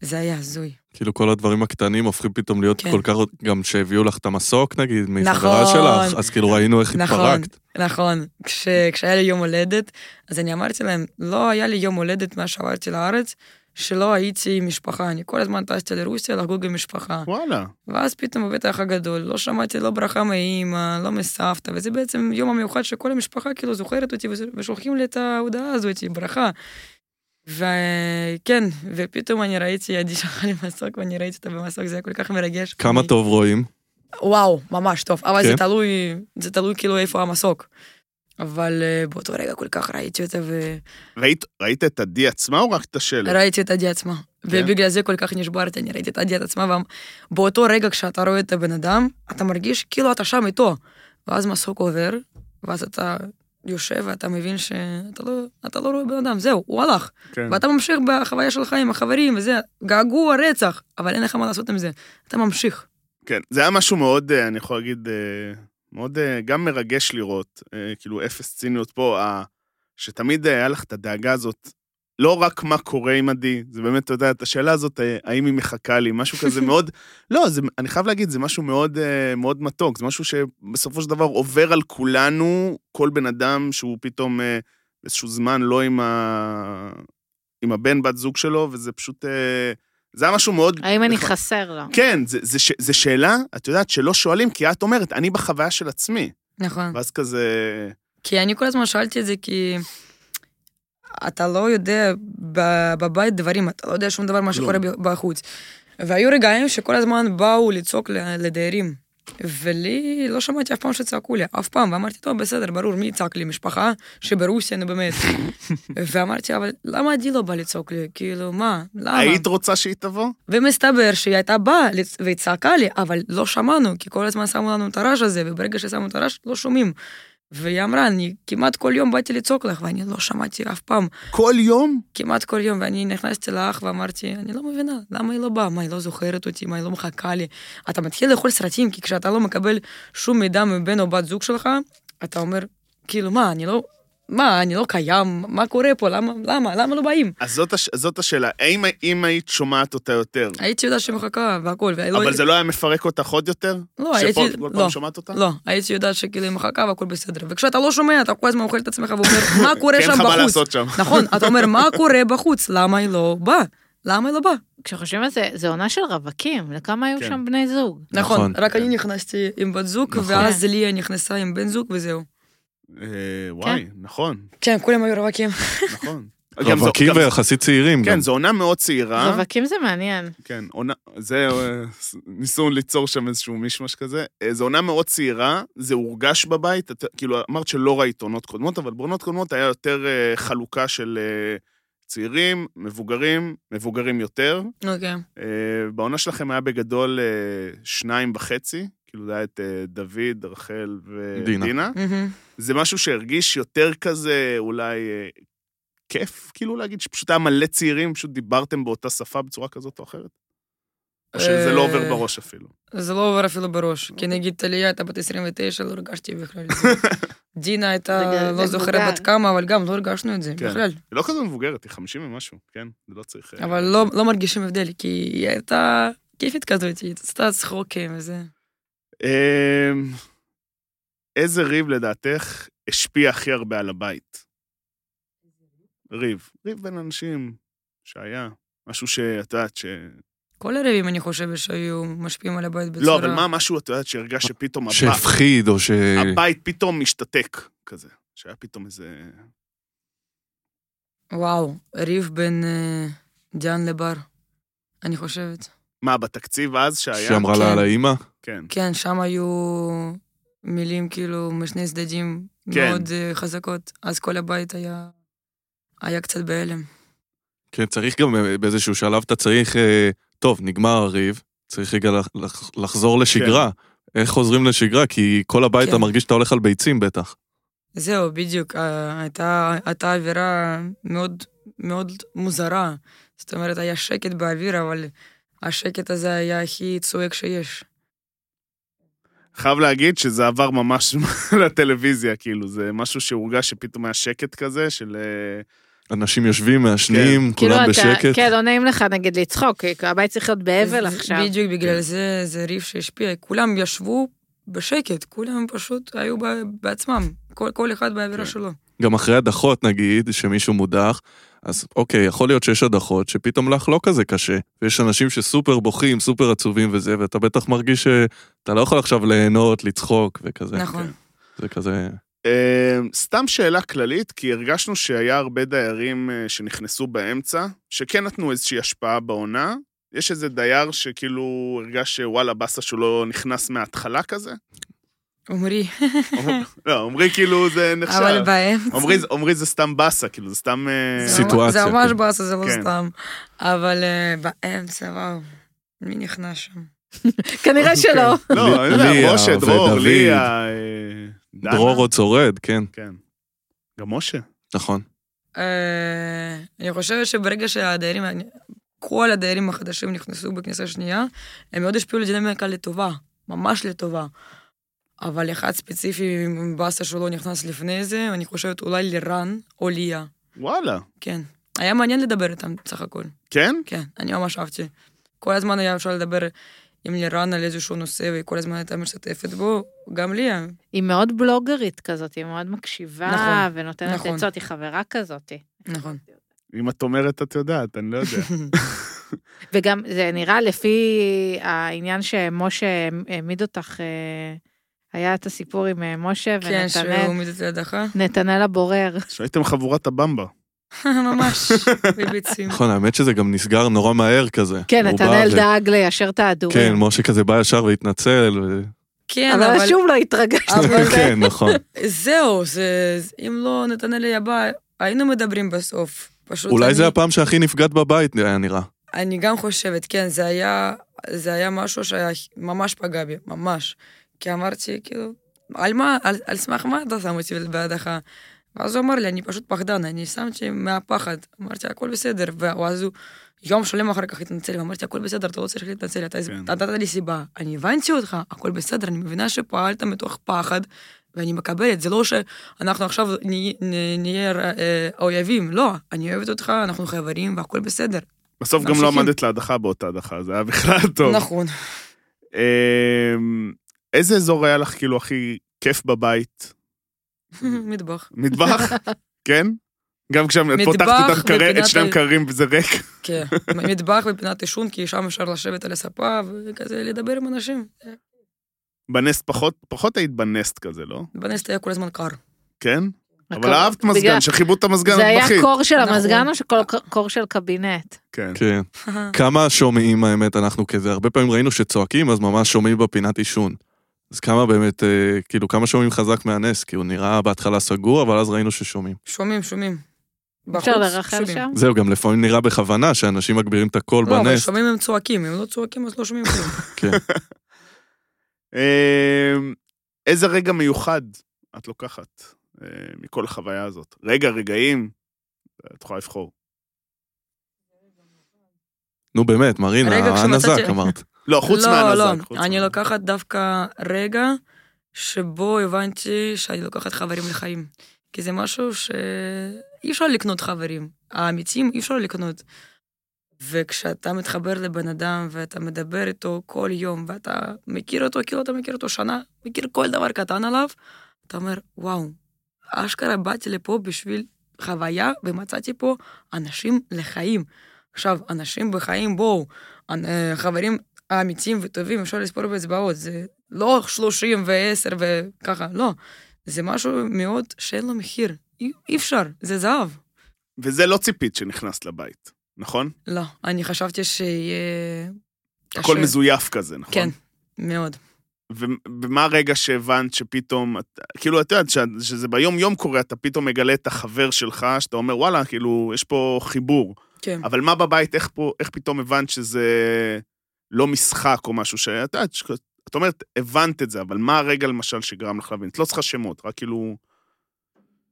D: זה היה הזוי.
C: כאילו כל הדברים הקטנים הופכים פתאום להיות
D: כן.
C: כל כך... גם שהביאו לך את המסוק נגיד, מחברה
D: נכון.
C: שלך, אז כאילו ראינו איך
D: נכון.
C: התפרקת.
D: נכון, כש, כשהיה לי יום הולדת, אז אני אמרתי להם, לא היה לי יום הולדת מאז שעברתי לארץ, שלא הייתי עם משפחה, אני כל הזמן טסתי לרוסיה לחגוג עם משפחה.
A: וואלה.
D: ואז פתאום בבית האח הגדול, לא שמעתי לא ברכה מאימא, לא מסבתא, וזה בעצם יום המיוחד שכל המשפחה כאילו זוכרת אותי וזה- ושולחים לי את ההודעה הזאת, ברכה. וכן, ופתאום אני ראיתי ידי שלך למסוק, ואני ראיתי אותה במסוק, זה היה כל כך מרגש.
C: כמה
D: אני-
C: טוב רואים.
D: וואו, ממש טוב. אבל
C: כן.
D: זה תלוי, זה תלוי כאילו איפה המסוק. אבל אה, באותו רגע כל כך ראיתי אותה וראיתי
A: ראית, ראית את עדי עצמה או רק את השלט?
D: את הדי עצמה. ובגלל זה כל כך נשברתי, אני ראיתי את הדי עצמה, ובאותו רגע כשאתה רואה את הבן אדם, אתה מרגיש כאילו אתה שם איתו. ואז מסוק עובר, ואז אתה יושב ואתה מבין שאתה לא, אתה לא רואה בן אדם, זהו, הוא הלך.
A: כן.
D: ואתה ממשיך בחוויה שלך עם החברים, וזה געגוע, רצח, אבל אין לך מה לעשות עם זה. אתה ממשיך.
A: כן, זה היה משהו מאוד, אה, אני יכול להגיד, אה, מאוד אה, גם מרגש לראות, אה, כאילו אפס ציניות פה, ה- שתמיד אה, היה לך את הדאגה הזאת, לא רק מה קורה עם עדי, זה באמת, אתה יודע, את השאלה הזאת, אה, האם היא מחכה לי, משהו כזה מאוד, לא, זה, אני חייב להגיד, זה משהו מאוד, אה, מאוד מתוק, זה משהו שבסופו של דבר עובר על כולנו, כל בן אדם שהוא פתאום אה, באיזשהו זמן לא עם, ה... עם הבן, בת זוג שלו, וזה פשוט, אה, זה היה משהו מאוד...
B: האם אני
A: נכון.
B: חסר לו?
A: כן, זו שאלה, את יודעת, שלא שואלים, כי את אומרת, אני בחוויה של עצמי.
D: נכון.
A: ואז כזה...
D: כי אני כל הזמן שאלתי את זה, כי אתה לא יודע ב- בבית דברים, אתה לא יודע שום דבר מה
A: כלום.
D: שקורה ב- בחוץ. והיו רגעים שכל הזמן באו לצעוק ל- לדיירים. ולי, לא שמעתי אף פעם שצעקו לי, אף פעם, ואמרתי, טוב, בסדר, ברור, מי יצעק לי? משפחה שברוסיה, נו באמת. ואמרתי, אבל למה עדי לא בא לצעוק לי? כאילו, מה? למה?
A: היית רוצה שהיא תבוא?
D: ומסתבר שהיא הייתה באה לצ- והיא צעקה לי, אבל לא שמענו, כי כל הזמן שמו לנו את הרעש הזה, וברגע ששמו את הרעש, לא שומעים. והיא אמרה, אני כמעט כל יום באתי לצעוק לך, ואני לא שמעתי אף פעם,
A: כל יום?
D: כמעט כל יום, ואני נכנסתי לאח ואמרתי, אני לא מבינה, למה היא לא באה? מה, היא לא זוכרת אותי? מה, היא לא מחכה לי? אתה מתחיל לאכול סרטים, כי כשאתה לא מקבל שום מידע מבן או בת זוג שלך, אתה אומר, כאילו, מה, אני לא... מה, אני לא קיים? מה קורה פה? למה? למה? למה לא באים?
A: אז זאת, הש... זאת השאלה, האם, אם היית שומעת אותה יותר,
D: הייתי יודעת שהיא מחכה והכל,
A: לא
D: ולא-
A: אבל זה לא היה מפרק אותך עוד יותר?
D: לא,
A: שפה
D: הייתי-
A: כל
D: לא.
A: פעם שומעת אותה?
D: לא, הייתי יודעת שכאילו היא מחכה והכל בסדר. וכשאתה לא שומע, אתה כל הזמן אוכל את עצמך ואומר, מה קורה
A: כי אין
D: שם
A: לך מה
D: בחוץ?
A: כן, לעשות שם.
D: נכון, אתה אומר, מה קורה בחוץ? למה היא לא באה? למה היא לא באה?
B: כשחושבים על זה, זה עונה של רווקים, לכמה היו
A: כן.
B: שם בני זוג?
D: נכון,
C: נכון.
D: רק אני נכנסתי עם בת זוג,
C: נכון.
D: ואז ליה נכנסה עם בן זוג וזהו.
A: אה, וואי, נכון,
D: כן, כולם היו רווקים.
A: נכון. גם זו-
C: רווקים
A: גם-
C: ויחסית צעירים גם.
A: כן, זו עונה מאוד צעירה.
B: רווקים זה מעניין.
A: כן, עונה, זה, אה, ס- ניסו ליצור שם איזשהו מישמש כזה. אה, זו עונה מאוד צעירה, זה הורגש בבית, את, כאילו, אמרת שלא ראית עונות קודמות, אבל בעונות קודמות היה יותר אה, חלוקה של אה, צעירים, מבוגרים, מבוגרים יותר.
D: אוקיי.
A: אה, בעונה שלכם היה בגדול אה, שניים וחצי, כאילו, זה היה את אה, דוד, רחל
C: דינה.
A: ודינה. דינה.
D: מהמם.
A: זה משהו שהרגיש יותר כזה, אולי... אה, כיף, כאילו להגיד, שפשוט היה מלא צעירים, פשוט דיברתם באותה שפה בצורה כזאת או אחרת? או שזה לא עובר
D: אה,
A: בראש אפילו?
D: זה לא עובר אפילו בראש. כי נגיד טליה הייתה בת 29, לא הרגשתי בכלל. את זה. דינה
B: רגע,
D: הייתה,
B: זה
D: לא זוכרת
B: מבוגר.
D: בת כמה, אבל גם לא הרגשנו את זה
A: כן.
D: בכלל.
A: היא לא כזו מבוגרת, היא 50 ומשהו, כן? זה לא צריך... אה,
D: אבל לא, לא מרגישים הבדל, כי היא הייתה כיפית כזאת, היא עשתה צחוקים וזה.
A: אה, איזה ריב לדעתך השפיע הכי הרבה על הבית? ריב. ריב בין אנשים שהיה. משהו שאת יודעת ש...
D: כל הריבים, אני חושבת, שהיו משפיעים על הבית בצורה...
A: לא, אבל מה משהו, את יודעת, שהרגשת שפתאום הבית-
C: שהפחיד או ש...
A: הבית פתאום משתתק, כזה. שהיה פתאום איזה...
D: וואו, ריב בין אה, דיאן לבר, אני חושבת.
A: מה, בתקציב אז שהיה?
C: שאמרה לה
D: כן.
C: על האימא?
A: כן.
D: כן, שם היו מילים כאילו משני צדדים
A: כן.
D: מאוד אה, חזקות. אז כל הבית היה... היה קצת בהלם.
C: כן, צריך גם אה, באיזשהו שלב אתה צריך... אה, טוב, נגמר הריב, צריך רגע לח- לח- לחזור לשגרה.
A: כן.
C: איך חוזרים לשגרה? כי כל הבית
D: כן.
C: אתה מרגיש שאתה הולך על ביצים בטח.
D: זהו, בדיוק. אה, הייתה, הייתה אווירה מאוד מאוד מוזרה. זאת אומרת, היה שקט באוויר, אבל השקט הזה היה הכי צועק שיש.
A: חייב להגיד שזה עבר ממש לטלוויזיה, כאילו, זה משהו שהורגש שפתאום היה שקט כזה של... אה,
C: אנשים יושבים,
A: כן.
C: מעשנים,
B: כאילו אתה,
C: כולם בשקט.
B: כן, לא נעים לך נגיד לצחוק, כי הבית צריך להיות באבל
D: זה-
B: עכשיו.
D: בדיוק, בגלל זה זה ריב שהשפיע. כולם ישבו בשקט, כולם פשוט היו ב- בעצמם, כל, כל אחד באווירה
A: כן.
D: שלו.
C: גם אחרי הדחות, נגיד, שמישהו מודח, אז אוקיי, יכול להיות שיש הדחות שפתאום לך לא כזה קשה. ויש אנשים שסופר בוכים, סופר עצובים וזה, ואתה בטח מרגיש שאתה לא יכול עכשיו ליהנות, לצחוק וכזה.
D: נכון.
C: זה כזה...
A: אה, סתם שאלה כללית, כי הרגשנו שהיה הרבה דיירים אה, שנכנסו באמצע, שכן נתנו איזושהי השפעה בעונה. יש איזה דייר שכאילו הרגש שוואלה, באסה שהוא לא נכנס מההתחלה כזה?
D: עמרי,
A: אומר- לא, עמרי כאילו זה
D: אבל
A: נחשב.
D: באמצע.
A: עמרי זה- עמרי זה סתם באסה, כאילו, זה סתם... אה,
D: זה
C: סיט-
D: ממש-
C: סיטואציה,
D: זה ממש
C: כן.
D: באסה, זה לא
A: כן.
D: סתם. אבל אה, באמצע, וואו, מי נכנס שם?
B: כנראה שלא.
A: לא, אני
C: ליה
A: יודע, משה, דרור,
C: ודוד.
A: ליה... אה, דנה.
C: דרור עוד שורד, כן,
A: כן. גם משה.
C: נכון.
D: אה, אני חושבת שברגע שהדיירים, כל הדיירים החדשים נכנסו בכניסה השנייה, הם מאוד השפיעו לדינמיקה לטובה, ממש לטובה. אבל אחד ספציפי עם באסה שלו נכנס לפני זה, אני חושבת אולי לרן או ליה,
A: וואלה.
D: כן. היה מעניין לדבר איתם בסך הכל,
A: כן?
D: כן, אני ממש אהבתי. כל הזמן היה אפשר לדבר עם לירן על איזשהו נושא, והיא כל הזמן הייתה משתתפת בו, גם ליה.
B: היא מאוד בלוגרית כזאת, היא מאוד מקשיבה,
D: נכון,
B: ונותנת
D: נכון.
B: עצות, היא חברה כזאת.
D: נכון.
A: אם את אומרת, את יודעת, אני לא יודע.
B: כן. וגם זה נראה לפי העניין שמשה העמיד אותך, אה, היה את הסיפור עם אה, משה
D: כן, שהוא
B: ונתנאל,
D: עומד את לידך,
B: נתנאל הבורר.
A: שהייתם חבורת הבמבה.
D: ממש, בביצים.
C: נכון, האמת שזה גם נסגר נורא מהר כזה.
B: כן,
C: הוא בא
B: נתנאל
C: ו-
B: דאג ליישר את
C: כן,
B: ההדורים.
C: משה כזה בא ישר והתנצל, ו-
D: כן,
B: אבל שוב לא התרגשת
D: אבל
B: מזה.
C: כן, נכון.
D: זהו, זה... זה- אם לא נתנאל היה בא, היינו מדברים בסוף. פשוט
C: אולי
D: אני,
C: זה הפעם שהכי נפגעת בבית, היה נראה.
D: אני גם חושבת, כן, זה היה, זה היה משהו שממש פגע בי, ממש. כי אמרתי, כאילו, על מה, על, על סמך מה אתה שם אותי בהדחה? ואז הוא אמר לי, אני פשוט פחדן, אני שמתי מהפחד. אמרתי, הכל בסדר. ואז הוא יום שלם אחר כך התנצל, ואמרתי, הכל בסדר, אתה לא צריך להתנצל, אתה
A: כן.
D: אתה נתת לי סיבה. אני הבנתי אותך, הכל בסדר, אני מבינה שפעלת מתוך פחד, ואני מקבלת, זה לא שאנחנו עכשיו נהיה- נ- נהיה אה, אויבים, לא, אני אוהבת אותך, אנחנו חברים, והכל בסדר.
A: בסוף גם לא
D: ממשיכים.
A: עמדת להדחה באותה הדחה, זה היה בכלל טוב.
D: נכון.
A: אמ, איזה אזור היה לך כאילו הכי כיף בבית?
D: מטבח.
A: מטבח? כן? גם כשאת
D: מטבח
A: פותחת איתם קרה- את
D: ופינת
A: שניהם
D: ה-
A: קרים וזה ריק.
D: כן, מטבח ופינת עישון, כי שם אפשר לשבת על הספה וכזה לדבר עם אנשים.
A: בנסט פחות, פחות היית בנסט כזה, לא?
D: בנסט היה כל הזמן קר.
A: כן? אבל
B: הכל-
A: אהבת מזגן,
B: בגלל-
A: שחיברו את המזגן,
B: זה
A: את
B: היה
A: בכית.
B: קור של
D: נכון.
B: המזגן או שכל- קור של קבינט?
A: כן.
C: כן. כמה שומעים האמת אנחנו כזה, הרבה פעמים ראינו שצועקים אז ממש שומעים בפינת עישון. אז כמה באמת, אה, כאילו כמה שומעים חזק מהנס, כי הוא נראה בהתחלה סגור, אבל אז ראינו ששומעים.
D: שומעים, שומעים.
B: אפשר
D: בחוץ
B: לרחל
D: שומעים.
B: שם?
C: זהו, גם לפעמים נראה בכוונה שאנשים מגבירים את הקול
D: לא, אבל
C: בנס.
D: שומעים הם צועקים, אם לא צועקים אז לא שומעים כלום.
C: כן.
A: אמ, איזה רגע מיוחד את לוקחת אה, מכל החוויה הזאת? רגע, רגעים, את יכולה לבחור.
C: נו באמת, מרינה,
D: רגע,
C: הנזק
D: כשמצאתי-
C: אמרת.
A: לא, חוץ
D: לא,
A: מהנזק.
D: לא,
A: חוץ
D: אני
A: מה-
D: לוקחת דווקא רגע שבו הבנתי שאני לוקחת חברים לחיים. כי זה משהו שאי אפשר לקנות חברים. האמיצים אי אפשר לקנות. וכשאתה מתחבר לבן אדם ואתה מדבר איתו כל יום ואתה מכיר אותו כאילו אתה מכיר אותו שנה, מכיר כל דבר קטן עליו, אתה אומר, וואו, אשכרה באתי לפה בשביל חוויה ומצאתי פה אנשים לחיים. עכשיו, אנשים בחיים, בואו, אנ- אה, חברים האמיצים וטובים, אפשר לספור באצבעות, זה לא 30 ו-10 וככה, לא. זה משהו מאוד שאין לו מחיר, אי, אי אפשר, זה זהב.
A: וזה לא ציפית שנכנסת לבית, נכון?
D: לא, אני חשבתי שיהיה
A: הכל
D: קשה.
A: מזויף כזה, נכון?
D: כן, מאוד.
A: ו- ומה הרגע שהבנת שפתאום, את- כאילו, את יודעת, ש- שזה ביום-יום קורה, אתה פתאום מגלה את החבר שלך, שאתה אומר, וואלה, כאילו, יש פה חיבור.
D: כן.
A: אבל מה בבית, איך, פה, איך פתאום הבנת שזה לא משחק או משהו שאת יודעת, ש- את אומרת, הבנת את זה, אבל מה הרגע, למשל, שגרם לך להבין? את לא צריכה שמות, רק כאילו...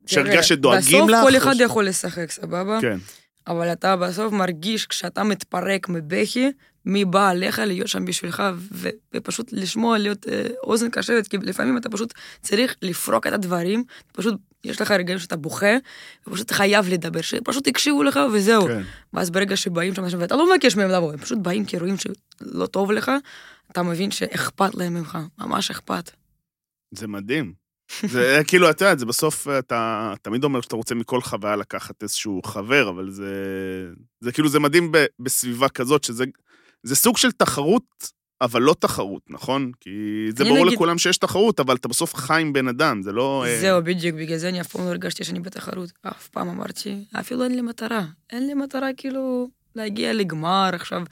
D: תראה,
A: שהרגשת שדואגים לך?
D: בסוף כל
A: או
D: אחד
A: ש-
D: יכול לשחק, סבבה?
A: כן.
D: אבל אתה בסוף מרגיש כשאתה מתפרק מבכי, מי בא עליך להיות שם בשבילך, ו- ופשוט לשמוע, להיות אה, אוזן קשבת, כי לפעמים אתה פשוט צריך לפרוק את הדברים, פשוט יש לך רגעים שאתה בוכה, ופשוט חייב לדבר, שפשוט יקשיבו לך וזהו.
A: כן.
D: ואז ברגע שבאים שם אנשים, ואתה לא מבקש מהם לבוא, הם פשוט באים כי רואים שלא טוב לך, אתה מבין שאכפת להם ממך, ממש אכפת.
A: זה מדהים. זה כאילו, את יודעת, זה בסוף, אתה תמיד אומר שאתה רוצה מכל חוויה לקחת איזשהו חבר, אבל זה... זה כאילו, זה מדהים ב, בסביבה כזאת, שזה זה סוג של תחרות, אבל לא תחרות, נכון? כי זה
D: אני
A: ברור
D: נגיד-
A: לכולם שיש תחרות, אבל אתה בסוף חי עם בן אדם, זה לא... אה,
D: זהו, בדיוק, בגלל זה אני אף פעם לא הרגשתי שאני בתחרות. אף פעם אמרתי, אפילו אין לי מטרה. אין לי מטרה כאילו להגיע לגמר עכשיו,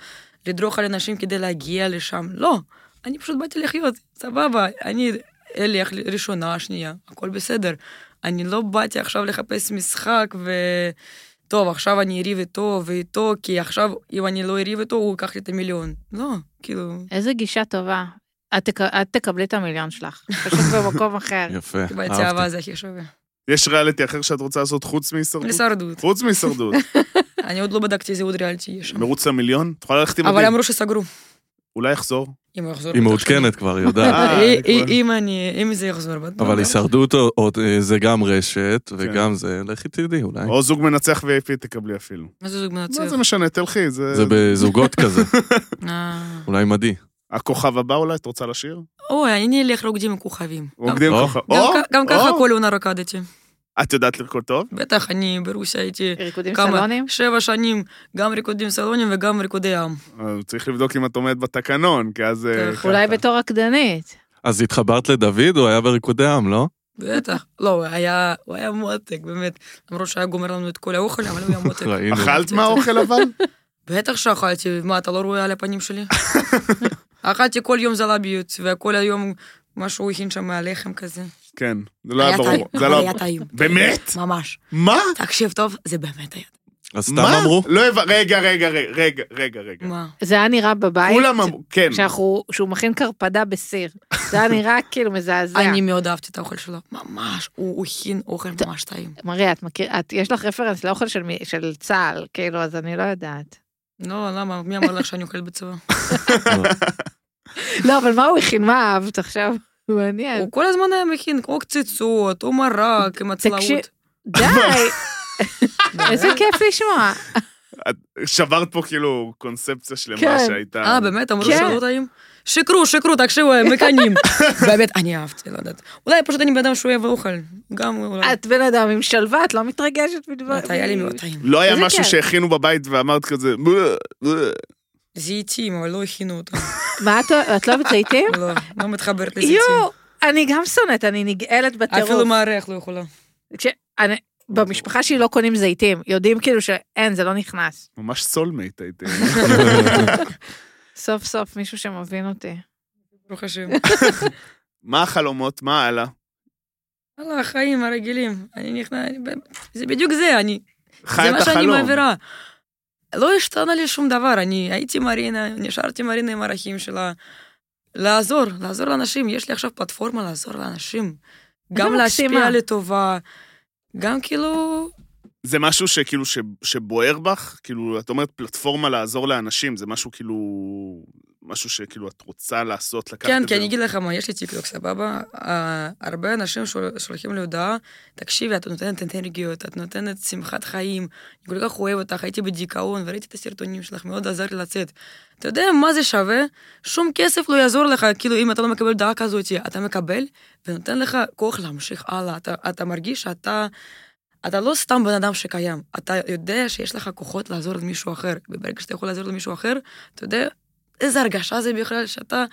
D: לדרוך על אנשים כדי להגיע לשם. לא, אני פשוט באתי לחיות, סבבה, אני אלך ראשונה, שנייה, הכל בסדר. אני לא באתי עכשיו לחפש משחק ו... טוב, עכשיו אני אריב איתו ואיתו, כי עכשיו, אם אני לא אריב איתו, הוא ייקח לי את המיליון. לא, כאילו,
B: איזה גישה טובה. את תק- את תקבלי את המיליון שלך, פשוט במקום אחר.
C: יפה,
D: קיבלתי אהבה
C: אהבתי.
D: זה הכי שווה.
A: יש ריאליטי אחר שאת רוצה לעשות חוץ מהישרדות?
D: להישרדות.
A: חוץ מהישרדות.
D: אני עוד לא בדקתי איזה עוד ריאליטי יש שם.
A: מרוץ למיליון? את יכולה ללכת עם
D: אבל
A: מדהים.
D: אמרו שסגרו.
A: אולי יחזור.
D: אם הוא יחזור.
C: היא
D: בטח
C: מעודכנת כבר, היא
D: שאני-
C: יודעת.
A: אה,
D: אה,
A: אני
D: אה,
A: כבר-
D: אם אני, אם זה יחזור. בטח.
C: אבל הישרדות או- או- אה, זה גם רשת,
A: כן.
C: וגם זה, לכי תדעי אולי.
A: או זוג מנצח ו-AP תקבלי אפילו.
D: מה זה זוג
A: מה
D: מנצח?
A: זה משנה, תלכי, זה...
C: זה בזוגות כזה,
D: אה.
C: אולי מדי.
A: הכוכב הבא אולי, את רוצה לשיר?
D: אוי, אני אלך רוקדים עם כוכבים.
A: רוקדים
C: או.
A: כוכב.
D: גם-
A: או,
D: גם- גם ככה
A: או.
D: כל עונה רקדתי.
A: את יודעת לרקוד טוב?
D: בטח, אני ברוסיה הייתי
B: ריקודים
D: כמה?
B: סלונים?
D: שבע שנים, גם ריקודים סלונים וגם ריקודי עם.
A: אז אה, צריך לבדוק אם את עומדת בתקנון, כי אז... אה,
D: טוב,
A: ככה.
B: אולי בתור רקדנית.
C: אז התחברת לדוד, הוא היה בריקודי עם, לא?
D: בטח. לא, הוא היה, הוא היה מועתק, באמת. למרות שהיה גומר לנו את כל האוכל, אבל הוא היה מועתק.
C: ראינו.
A: אכלת מהאוכל אבל?
D: בטח שאכלתי, מה, אתה לא רואה על הפנים שלי? אכלתי כל יום זלביות, וכל היום מה שהוא הכין שם מהלחם כזה.
A: כן, זה לא היה ברור.
D: טעים,
A: זה
D: אבל
A: לא...
D: היה טעים.
A: באמת?
D: ממש.
A: מה?
D: תקשיב טוב, זה באמת היה.
C: אז סתם
A: מה?
C: אמרו?
A: לא הבנתי, רגע, רגע, רגע, רגע, רגע, רגע.
D: מה?
B: זה היה נראה בבית,
A: כולם אמרו, כן.
B: שאנחנו- שהוא מכין קרפדה בסיר. זה היה נראה כאילו מזעזע.
D: אני מאוד אהבתי את האוכל שלו, ממש, הוא הכין אוכל ממש טעים.
B: מריה, את מכיר, את, יש לך רפרנס לאוכל של, מי- של צה"ל, כאילו, אז אני לא יודעת.
D: לא, למה? מי אמר לך שאני אוכלת בצבא?
B: לא, אבל מה הוא הכין? מה אהבת עכשיו? מעניין.
D: הוא כל הזמן היה מכין כמו קציצות, הוא מרק עם
B: תקשיב,
D: הצלעות.
B: די, איזה כיף לשמוע.
A: שברת פה כאילו קונספציה שלמה
B: כן.
A: שהייתה.
D: אה, באמת? אמרו
B: כן.
D: שלא טעים? שיקרו, שיקרו, תקשיבו, הם מקנאים. באמת, אני אהבתי, לא יודעת. אולי פשוט אני בן אדם שאוהב אוכל. גם אולי.
B: את בן אדם עם שלווה, את לא מתרגשת מדבר...
D: באמת, היה לי מאוד טעים.
A: לא היה
B: איזה
A: משהו
B: כיף.
A: שהכינו בבית ואמרת כזה, "בוא, בוא".
D: זיתים, אבל לא הכינו אותם.
B: מה, את- את לא אוהבת זיתים?
D: לא, לא מתחברת לזיתים.
B: יואו, אני גם שונאת, אני נגאלת
D: אפילו
B: בטירוף.
D: מארח לא יכולה.
B: כשאני- במשפחה שלי לא קונים זיתים, יודעים כאילו שאין, זה לא נכנס.
A: ממש סולמייט הייתי.
B: סוף סוף מישהו שמבין אותי.
D: ברוך השם.
A: מה החלומות? מה הלאה?
D: וואלה, החיים הרגילים. אני נכנע... אני ב- זה בדיוק זה, אני...
A: חי
D: זה
A: את
D: מה שאני
A: החלום.
D: מעבירה. לא השתנה לי שום דבר, אני הייתי מרינה, נשארתי מרינה עם הערכים שלה. לעזור, לעזור לאנשים, יש לי עכשיו פלטפורמה לעזור לאנשים. גם
B: מקסימה.
D: להשפיע לטובה, גם כאילו...
A: זה משהו שכאילו ש- שבוער בך? כאילו, את אומרת פלטפורמה לעזור לאנשים, זה משהו כאילו... משהו שכאילו את רוצה לעשות, לקחת
D: כן,
A: את
D: כי
A: זה.
D: אני אגיד לך מה, יש לי טיקטוק, סבבה? אה, הרבה אנשים שול- שולחים לי הודעה, תקשיבי, את נותנת אנרגיות, את נותנת שמחת חיים, אני כל כך אוהב אותך, הייתי בדיכאון, וראיתי את הסרטונים שלך, מאוד עזר לי לצאת. אתה יודע מה זה שווה? שום כסף לא יעזור לך, כאילו, אם אתה לא מקבל דעה כזאת, אתה מקבל, ונותן לך כוח להמשיך הלאה. אתה, אתה מרגיש שאתה... אתה לא סתם בן אדם שקיים, אתה יודע שיש לך כוחות לעזור למישהו אחר, וברגע שאתה יכול לעזור למישהו אחר, אתה יודע איזה הרגשה זה בכלל שאתה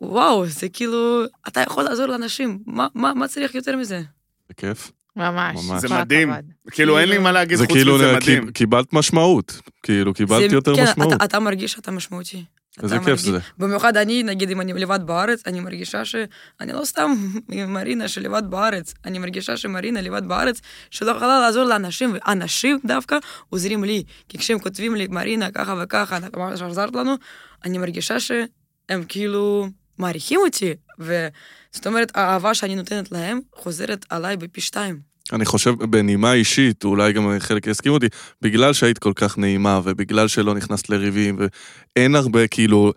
D: וואו, זה כאילו, אתה יכול לעזור לאנשים, מה, מה, מה צריך יותר מזה?
C: זה כיף.
B: ממש.
C: ממש.
A: זה
B: כל
A: מדהים.
B: הכבוד.
A: כאילו, אין לי מה להגיד
C: זה
A: חוץ
C: כאילו,
A: מזה
C: קיב-
A: מדהים.
C: קיבלת משמעות. כאילו, קיבלת
D: זה-
C: יותר
D: כן,
C: משמעות.
D: אתה, אתה מרגיש שאתה משמעותי.
C: איזה
D: אתה
C: כיף
D: מרגיש-
C: זה.
D: במיוחד אני, נגיד, אם אני לבד בארץ, אני מרגישה שאני לא סתם מרינה שלבד בארץ, אני מרגישה שמרינה לבד בארץ, שלא יכולה לעזור לאנשים, ואנשים דווקא עוזרים לי. כי כשהם כותבים לי, מרינה, ככה וככה, אתה ממש עזרת לנו, אני מרגישה שהם כאילו מעריכים אותי, וזאת אומרת, האהבה שאני נותנת להם חוזרת עליי בפי שתיים.
C: אני חושב, בנימה אישית, אולי גם חלק יסכים אותי, בגלל שהיית כל כך נעימה, ובגלל שלא נכנסת לריבים, ואין הרבה, כאילו,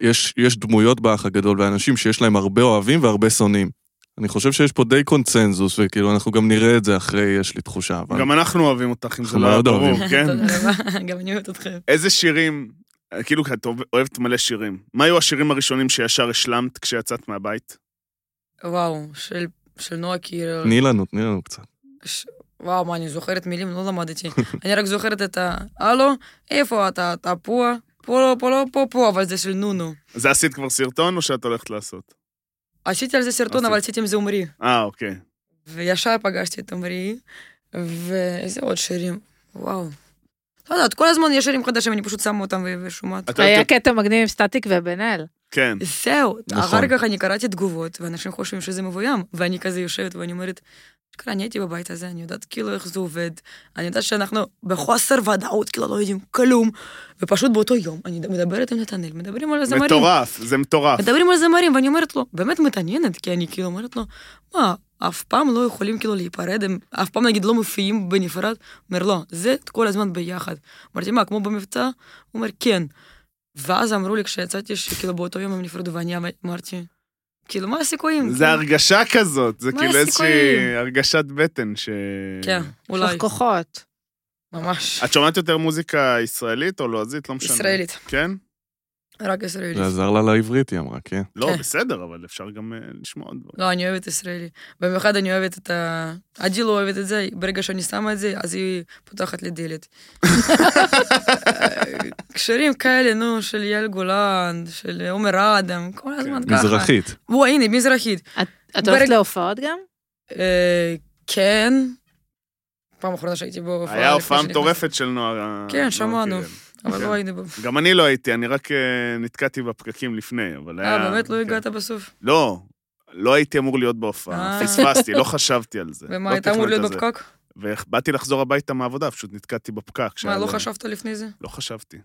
C: יש, יש דמויות באח הגדול, ואנשים שיש להם הרבה אוהבים והרבה שונאים. אני חושב שיש פה די קונצנזוס, וכאילו, אנחנו גם נראה את זה אחרי, יש לי תחושה, אבל...
A: גם אנחנו אוהבים אותך, אם זה
C: אנחנו
A: לא היה
C: מאוד
A: ברור,
C: אוהבים.
A: כן?
D: תודה רבה, גם אני אוהבת אתכם.
A: איזה שירים, כאילו, כי את אוהבת מלא שירים. מה היו השירים הראשונים שישר השלמת כשיצאת מהבית?
D: וואו, של- של נועה קירל.
C: תני לנו, תני לנו קצת.
D: ש- וואו, מה, אני זוכרת מילים, לא למדתי. אני רק זוכרת את ה... הלו, איפה אתה? אתה פה? פה לא, פה לא, פה פה, אבל זה של נונו.
A: זה עשית כבר סרטון, או שאת הולכת לעשות?
D: עשיתי על זה סרטון,
A: עשית.
D: אבל עשיתי עם זה עומרי.
A: אה, אוקיי.
D: וישר פגשתי את עומרי, ואיזה עוד שירים, וואו. לא יודעת, כל הזמן יש שירים חדשים, אני פשוט שמה אותם ו- ושומעת.
A: את
B: היה
A: אוהבת...
B: קטע מגניב עם סטטיק ובן אל.
A: כן.
D: זהו,
C: נכון.
D: אחר כך אני קראתי תגובות, ואנשים חושבים שזה מבוים, ואני כזה יושבת ואני אומרת, "אשכרה, אני הייתי בבית הזה, אני יודעת כאילו איך זה עובד, אני יודעת שאנחנו בחוסר ודאות, כאילו לא יודעים כלום, ופשוט באותו יום אני מדברת עם נתנאל, מדברים על הזמרים.
A: מטורף, זה מטורף.
D: מדברים על זמרים, ואני אומרת לו, באמת מתעניינת, כי אני כאילו אומרת לו, מה, אף פעם לא יכולים כאילו להיפרד, הם אף פעם נגיד לא מופיעים בנפרד? אומר, לא, זה כל הזמן ביחד. אמרתי, מה, כמו במבצע? הוא אומר, כן. ואז אמרו לי, כשיצאתי, שכאילו באותו יום הם נפרדו, ואני אמרתי, כאילו, מה הסיכויים?
A: זה
D: כאילו,
A: הרגשה כזאת, זה
D: מה
A: כאילו איזושהי
D: הסיכויים?
A: הרגשת בטן ש...
D: כן,
B: יש לך
D: אולי,
B: כוחות.
D: ממש.
A: את שומעת יותר מוזיקה ישראלית או לועזית? לא משנה.
D: ישראלית,
A: כן?
D: רק ישראלית.
C: זה עזר לה לעברית, היא אמרה, כן.
A: לא,
D: כן.
A: בסדר, אבל אפשר גם אה, לשמוע עוד דברים.
D: לא, אני אוהבת ישראלי. במיוחד אני אוהבת את ה... עדי לא אוהבת את זה, ברגע שאני שמה את זה, אז היא פותחת לי דלת. קשרים כאלה, נו, של יעל גולן, של עומר אדם, כל הזמן
A: כן.
D: ככה.
C: מזרחית.
D: וואי, הנה, מזרחית.
B: את הולכת
D: ברג-
B: להופעות גם?
D: אה, כן. פעם אחרונה שהייתי בהופעה.
A: היה
D: לפני
A: הופעה
D: שנכנסתי.
A: מטורפת של נוער... אה,
D: כן,
A: נוער
D: שמענו.
A: קירל.
D: אבל
A: כן.
D: לא היינו ב...
A: גם אני לא הייתי, אני רק אה, נתקעתי בפקקים לפני, אבל היה...
D: אה, באמת לא
A: כן.
D: הגעת בסוף?
A: לא, לא הייתי אמור להיות בהופעה,
D: אה.
A: פספסתי, לא חשבתי על זה.
D: ומה,
A: לא
D: היית אמור
A: תכננתי
D: להיות
A: על זה.
D: בפקק?
A: ובאתי לחזור הביתה מהעבודה, פשוט נתקעתי בפקק. שהיה
D: מה, לא
A: זה.
D: חשבת לפני זה?
A: לא חשבתי.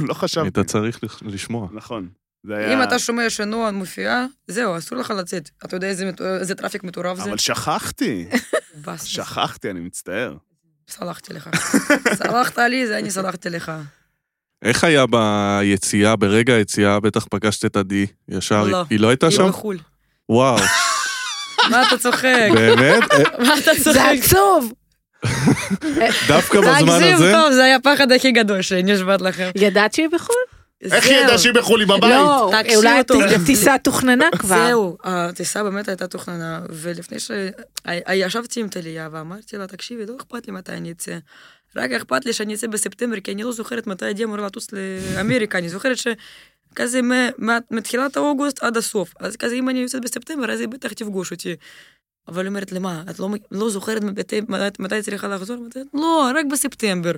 A: לא חשבתי.
C: היית צריך לש- לשמוע.
A: נכון. זה היה...
D: אם אתה שומע שנועה מופיעה, זהו, אסור לך לצאת. אתה יודע איזה מת- איזה טראפיק מטורף זה?
A: אבל שכחתי,
D: באס.
A: שכחתי, אני מצטער.
D: סלחתי לך. סלחת לי, זה אני סלחתי לך.
C: איך היה ביציאה, ברגע היציאה, בטח פגשת את עדי ישר,
D: לא.
C: היא לא הייתה
D: היא
C: שם?
D: בחו"ל.
C: וואו,
D: מה אתה צוחק?
C: באמת? אה,
D: מה אתה
B: זה
D: צוחק?
B: עצוב!
C: דווקא בזמן
D: תגזים,
C: הזה?
D: טוב, זה היה הפחד הכי גדול שאני נשבעת לכם.
B: ידעת שהיא בחו"ל?
A: איך היא ידעה שהיא בחו"ל, היא בבית?
B: לא,
D: תקשיב
B: אולי
D: טוב.
B: הטיסה תוכנננה כבר.
D: זהו, הטיסה באמת הייתה תוכננה, ולפני ש... ה- ישבתי עם טליה ואמרתי לה, תקשיבי, לא אכפת לי מתי אני אצא. רק אכפת לי שאני אצא בספטמבר, כי אני לא זוכרת מתי הייתי אמורה לטוס לאמריקה, אני זוכרת ש... כזה מ- מה- מתחילת אוגוסט עד הסוף. אז כזה, אם אני יוצאת בספטמבר, אז היא בטח תפגוש אותי. אבל היא אומרת, למה, את לא, מ- לא זוכרת מתי, מתי- מתי צריכה לחזור? מתי? לא, רק בספטמבר.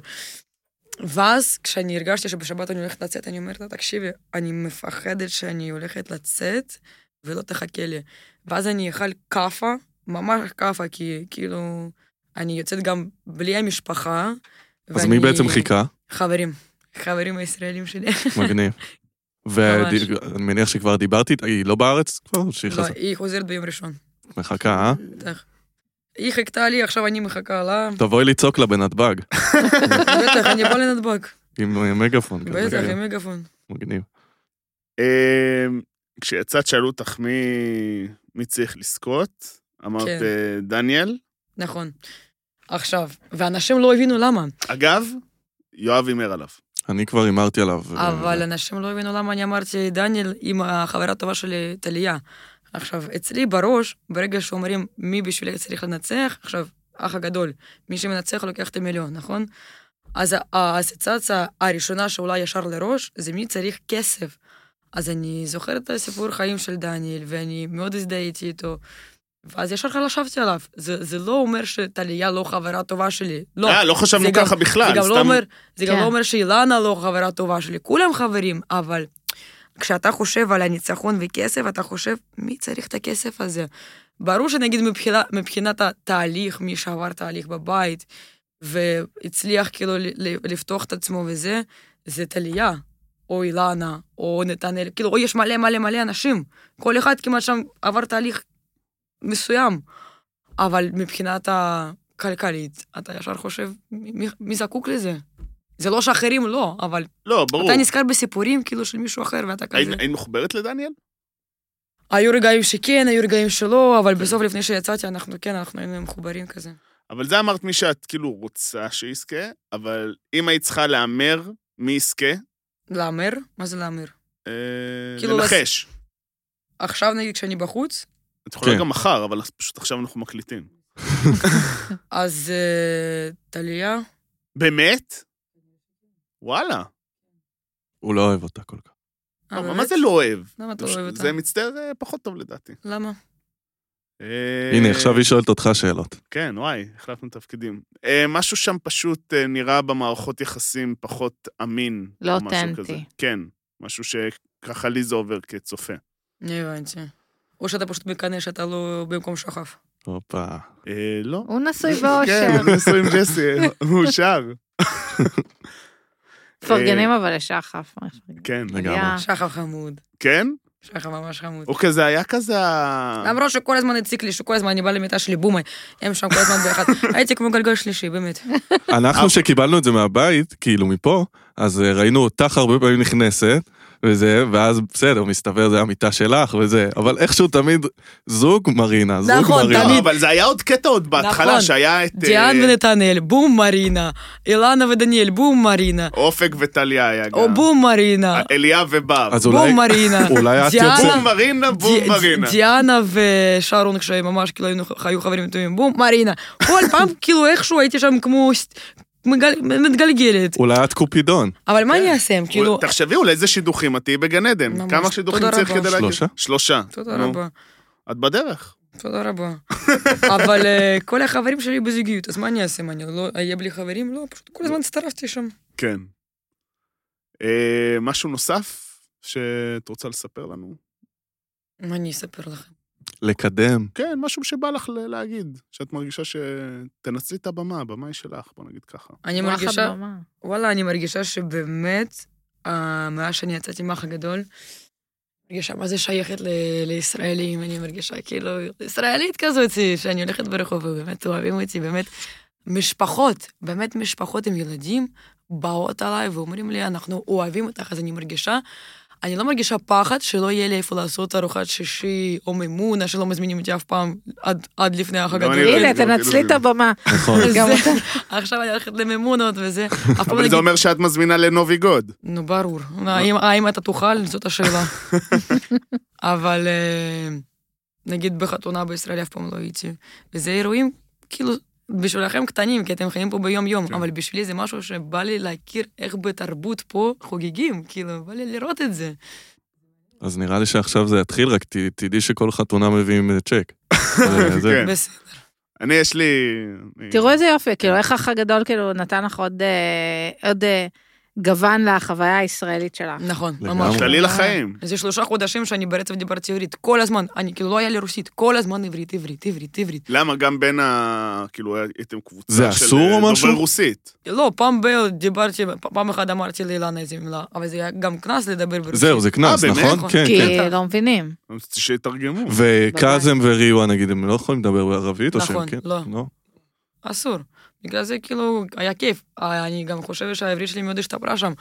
D: ואז כשאני הרגשתי שבשבת אני הולכת לצאת, אני אומרת לה, תקשיבי, אני מפחדת שאני הולכת לצאת ולא תחכה לי. ואז אני אכל כאפה, ממש כאפה, כי כאילו, אני יוצאת גם בלי המשפחה.
C: אז
D: ואני-
C: מי בעצם חיכה?
D: חברים, חברים הישראלים שלי.
C: מגניב. ואני מניח שכבר דיברתי, איתה, היא לא בארץ כבר? שהיא
D: לא,
C: חזרה?
D: היא חוזרת ביום ראשון.
C: מחכה, אה?
D: בטח. היא חיכתה לי, עכשיו אני מחכה לה.
C: תבואי לצעוק לה בנתב"ג,
D: בטח, אני בא לנתב"ג.
C: עם אה, מגפון. כזה,
D: בטח,
C: כן.
D: עם מגפון.
C: מגניב.
A: אמ, כשיצאת, שאלו אותך מי, מי צריך לזכות. אמרת,
D: כן.
A: אה, דניאל.
D: נכון. עכשיו, ואנשים לא הבינו למה,
A: אגב, יואב הימר עליו.
C: אני כבר הימרתי עליו.
A: כן,
C: אה,
D: אבל אנשים לא הבינו למה אני אמרתי דניאל עם החברה הטובה שלי, טליה. עכשיו, אצלי בראש, ברגע שאומרים מי בשבילי צריך לנצח, עכשיו, אח הגדול, מי שמנצח לוקח את המיליון, נכון? אז האסוציאציה הראשונה שעולה ישר לראש, זה מי צריך כסף. אז אני זוכרת את הסיפור חיים של דניאל, ואני מאוד הזדהיתי איתו. ואז ישר חשבתי עליו. זה, זה לא אומר שטליה לא חברה טובה שלי. לא.
A: אה, לא חשבנו
D: זה גם-
A: ככה בכלל,
D: זה גם לא
A: סתם...
D: אומר, זה גם
B: כן.
D: לא אומר שאילנה לא חברה טובה שלי, כולם חברים, אבל כשאתה חושב על הניצחון וכסף, אתה חושב, מי צריך את הכסף הזה? ברור שנגיד מבחינה, מבחינת התהליך, מי שעבר תהליך בבית, והצליח כאילו ל- ל- לפתוח את עצמו וזה, זה טליה, או אילנה, או נתנאל, כאילו, או יש מלא מלא מלא אנשים, כל אחד כמעט שם עבר תהליך מסוים, אבל מבחינת הכלכלית, אתה ישר חושב, מי, מי- מי זקוק לזה? זה לא שאחרים לא, אבל
A: לא, ברור.
D: אתה נזכר בסיפורים כאילו של מישהו אחר, ואתה כזה...
A: היית היית מחוברת לדניאל?
D: היו רגעים שכן, היו רגעים שלא, אבל בסוף לפני שיצאתי, אנחנו כן, אנחנו היינו מחוברים כזה.
A: אבל זה אמרת מי שאת כאילו רוצה שיזכה, אבל אם היית צריכה להמר מי יזכה,
D: להמר? מה זה להמר?
A: אה,
D: כאילו,
A: לנחש.
D: עכשיו נגיד כשאני בחוץ,
A: את יכולה
C: כן.
A: גם מחר, אבל פשוט עכשיו אנחנו מקליטים.
D: אז אה, טליה,
A: באמת? וואלה.
C: הוא לא אוהב אותה כל כך.
D: אה,
A: אבל מה
D: באמת?
A: זה לא אוהב?
D: למה אתה לא אוהב אותה?
A: זה מצטער אה, פחות טוב לדעתי.
D: למה?
A: אה,
C: הנה, עכשיו היא שואלת אותך שאלות.
A: כן, וואי, החלפנו תפקידים. אה, משהו שם פשוט אה, נראה במערכות יחסים פחות אמין.
B: לא
A: או משהו
B: אותנטי.
A: כזה. כן, משהו שככה לי זה עובר כצופה.
D: אני הבנתי. או שאתה פשוט מקנא שאתה לא במקום שחף.
C: הופה.
A: אה, לא.
B: הוא נשוי
A: כן,
B: באושר.
A: הוא נשוי עם ג'סי, אה, הוא שר.
B: מפרגנים אבל לשחף.
A: כן.
C: לגמרי.
B: אה.
D: שחף חמוד.
A: כן?
D: שחף ממש חמוד.
A: הוא כזה היה כזה... ה-
D: למרות שכל הזמן הציק לי, שכל הזמן אני באה למיטה שלי, בומי, הם שם כל הזמן ביחד. הייתי כמו גלגל שלישי, באמת.
C: אנחנו
D: אוקיי.
C: שקיבלנו את זה מהבית, כאילו מפה, אז אה, ראינו אותך הרבה פעמים נכנסת, וזה, ואז בסדר, מסתבר, זה היה מיטה שלך וזה, אבל איכשהו תמיד זוג מרינה, זוג
D: נכון,
C: מרינה.
A: לא,
D: תמיד.
A: אבל זה היה עוד קטע עוד בהתחלה,
D: נכון.
A: שהיה את...
D: דיאן
A: אה,
D: ונתנאל, בום מרינה. אילנה ודניאל, בום מרינה.
A: אופק וטליה היה
D: או
A: גם.
D: בום מרינה.
A: אליה ובר.
C: אז אולי,
D: בום מרינה.
C: אולי את
D: דיאנה-
C: יוצאת,
A: בום מרינה, בום
D: די-
A: מרינה.
D: דיאנה ושרון, כשהם ממש כאילו היינו- היו חברים טובים, בום מרינה. כל פעם כאילו איכשהו הייתי שם כמו... ס- מגל- מתגלגלת.
C: אולי את קופידון.
D: אבל מה אני אעשה? כאילו...
A: תחשבי אולי איזה שידוכים את תהיי בגן עדן.
D: ממש,
A: כמה שידוכים
D: תודה
A: צריך
D: רבה.
A: כדי להגיד?
C: שלושה?
A: שלושה.
D: תודה
A: נו,
D: רבה.
A: את בדרך.
D: תודה רבה. אבל אה, כל החברים שלי בזוגיות, אז מה אני אעשה? מה, אני לא אהיה בלי חברים? לא, פשוט כל הזמן הצטרפתי שם.
A: כן. אה, משהו נוסף שאת רוצה לספר לנו?
D: מה אני אספר לכם?
C: לקדם.
A: כן, משהו שבא לך ל- להגיד, שאת מרגישה ש... תנצלי את הבמה, הבמה היא שלך, בוא נגיד ככה.
D: אני מרגישה, וואלה, אני מרגישה שבאמת, אה, מאז שאני יצאתי מהאח הגדול, מרגישה מה זה שייכת ל- לישראלים, אני מרגישה כאילו ישראלית כזאת, שאני הולכת ברחוב ובאמת אוהבים אותי, באמת משפחות, באמת משפחות עם ילדים, באות עליי ואומרים לי, אנחנו אוהבים אותך, אז אני מרגישה, אני לא מרגישה פחד שלא יהיה לי איפה לעשות ארוחת שישי או מימונה, שלא מזמינים אותי אף פעם עד, עד לפני האח
A: גם
D: הגדול.
A: אני לא
B: הנה,
A: ראיתי, לא
B: תנצלי את
A: ראיתי.
B: הבמה.
C: נכון.
D: אז
B: גם
D: זה-
B: אתה.
D: עכשיו אני הולכת למימונות וזה. אף פעם לא
A: אבל
D: נגיד-
A: זה אומר שאת מזמינה לנובי גוד.
D: נו, ברור. האם, האם אתה תאכל? זאת השאלה. אבל אה, נגיד בחתונה בישראל אף פעם לא הייתי. וזה אירועים, כאילו, בשבילכם קטנים, כי אתם חיים פה ביום-יום,
A: כן.
D: אבל בשבילי זה משהו שבא לי להכיר איך בתרבות פה חוגגים, כאילו, בא לי לראות את זה.
C: אז נראה לי שעכשיו זה יתחיל, רק ת- תדעי שכל חתונה מביאים אה, צ'ק. אה, זה-
A: כן.
D: בסדר.
A: אני, יש לי... אה, אני-
B: תראו איזה יופי, כאילו, איך האח הגדול, כאילו, נתן לך עוד, אה, עוד אה, גוון לחוויה הישראלית שלך.
D: נכון,
C: לגמרי.
D: ממש. אה,
A: כללי לחיים.
D: זה שלושה חודשים שאני ברצף דיברתי עברית, כל הזמן, אני כאילו לא היה לי רוסית, כל הזמן עברית, עברית, עברית, עברית.
A: למה גם בין ה... כאילו, הייתם קבוצה
C: זה
A: של
C: אסור או
A: אה,
C: משהו?
A: דוברי רוסית.
D: לא, פעם ב- דיברתי, פ- פעם אחת אמרתי לאילנה איזה מילה, אבל זה היה גם קנס לדבר ברוסית.
C: זהו, זה קנס,
A: אה, באמת?
C: נכון? כן, כן.
B: כי לא מבינים.
A: אז שיתרגמו.
C: וקאזם וריווה, נגיד, הם לא יכולים לדבר בערבית, או שהם
D: נכון,
C: כן?
D: לא.
C: לא.
D: אסור. בגלל זה כאילו היה כיף. אה, אני גם חושבת שהעברית שלי מאוד השתפרה שם.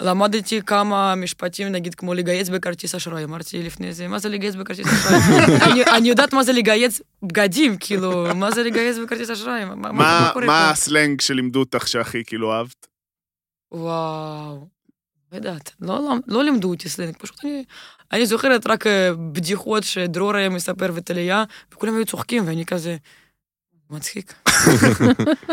D: למדתי כמה משפטים, נגיד כמו לגייס בכרטיס אשראי, אמרתי לפני זה, מה זה לגייס בכרטיס אשראי? אני- אני יודעת מה זה לגייס בגדים, כאילו, מה זה לגייס בכרטיס אשראי? מה-
A: מה-
D: מה- מה קורה
A: מה
D: פה?
A: הסלנג שלימדו אותך שהכי כאילו אהבת?
D: וואו, לא יודעת, לא, לא, לא לימדו אותי סלנג, פשוט אני, אני זוכרת רק אה, בדיחות שדרור היה מספר וטליה, וכולם היו צוחקים, ואני כזה, "וואו, מצחיק.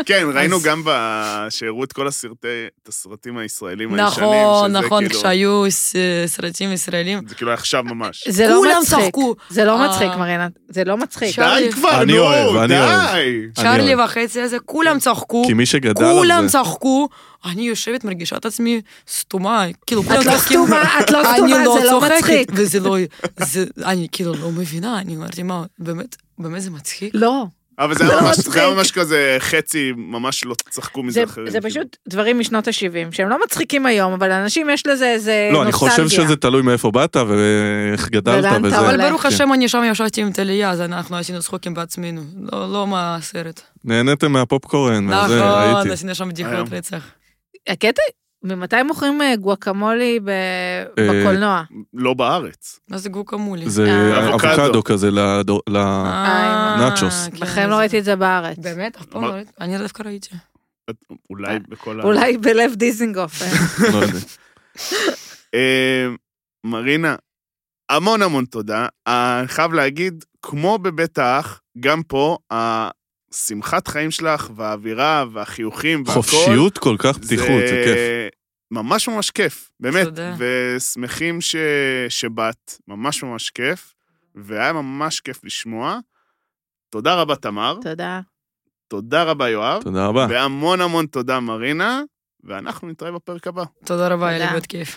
A: כן, ראינו
D: אז-
A: גם ב- שהראו את כל הסרטי, את הסרטים הישראלים הישנים,
D: נכון,
A: שזה
D: נכון,
A: כאילו-
D: כשהיו ס- סרטים ישראלים.
A: זה כאילו היה עכשיו ממש.
B: זה לא
D: כולם
B: מצחיק.
D: צחקו.
B: זה לא
D: אה.
B: מצחיק, מרינה. זה לא מצחיק.
D: ש-
A: די
D: אני
A: כבר,
C: אני
A: נו,
C: אוהב, אני אוהב.
A: די.
D: צ'ארלי
C: אוהב.
D: וחצי הזה, כולם צחקו,
C: כי מי שגדל
D: כולם
C: על זה...
D: צחקו, אני יושבת, מרגישה את עצמי סתומה, כאילו כולם
B: את לא
D: צוחקים.
B: סתומה, את לא
D: אני
B: סתומה,
D: לא
B: זה לא מצחיק.
D: צוחקת, וזה לא... זה- אני כאילו לא מבינה, אני אמרתי, מה, באמת, באמת זה מצחיק?
B: לא,
A: אבל זה היה
B: לא
A: ממש-
B: מצחיק.
A: זה היה ממש כזה חצי, ממש לא צחקו מזה
B: זה,
A: אחרים.
B: זה
A: כאילו.
B: פשוט דברים משנות ה-70, שהם לא מצחיקים היום, אבל לאנשים יש לזה איזה
C: לא, אני
B: נוסטלגיה.
C: חושב שזה תלוי מאיפה באת ואיך גדלת
B: ולאן אתה
C: וזה.
B: הולך.
D: אבל ברוך
C: כן.
D: השם, אני שם ישבתי עם טליה, אז אנחנו עשינו צחוקים בעצמנו, לא לא מהסרט.
C: נהניתם מהפופקורן, מהזה,
D: נכון,
C: ראיתי.
D: עשינו שם בדיחות
A: היום.
D: רצח.
B: הקטע, ממתי מוכרים אה, גואקמולי ב...
C: אה,
B: בקולנוע?
C: כן.
A: לא בארץ.
D: מה זה גוקמולי?
C: זה
B: אה.
A: אבוקדו.
C: אבוקדו כזה לדו- ל...
D: אה,
C: נאצ'וס.
D: כן,
B: בחיים לא
D: זה-
B: ראיתי את זה בארץ.
D: באמת? אף פעם לא
A: אמר-
D: ראיתי. אני דווקא ראיתי.
A: אולי בכל ה...
B: אה, אולי בלב דיזינגוף. אה.
C: לא יודע.
A: אה, מרינה, המון המון תודה. אה, אני חייב להגיד, כמו בבית האח, גם פה, השמחת חיים שלך, והאווירה, והחיוכים, והכל...
C: חופשיות כל כך, פתיחות, זה כיף.
A: ממש ממש כיף, באמת.
D: תודה.
A: ושמחים ש... שבאת, ממש ממש כיף, והיה ממש כיף לשמוע. תודה רבה, תמר.
B: תודה.
A: תודה רבה, יואב.
C: תודה רבה.
A: והמון המון תודה, מרינה, ואנחנו נתראה בפרק הבא.
D: תודה רבה, היה לי
B: תודה.
D: מאוד כיף.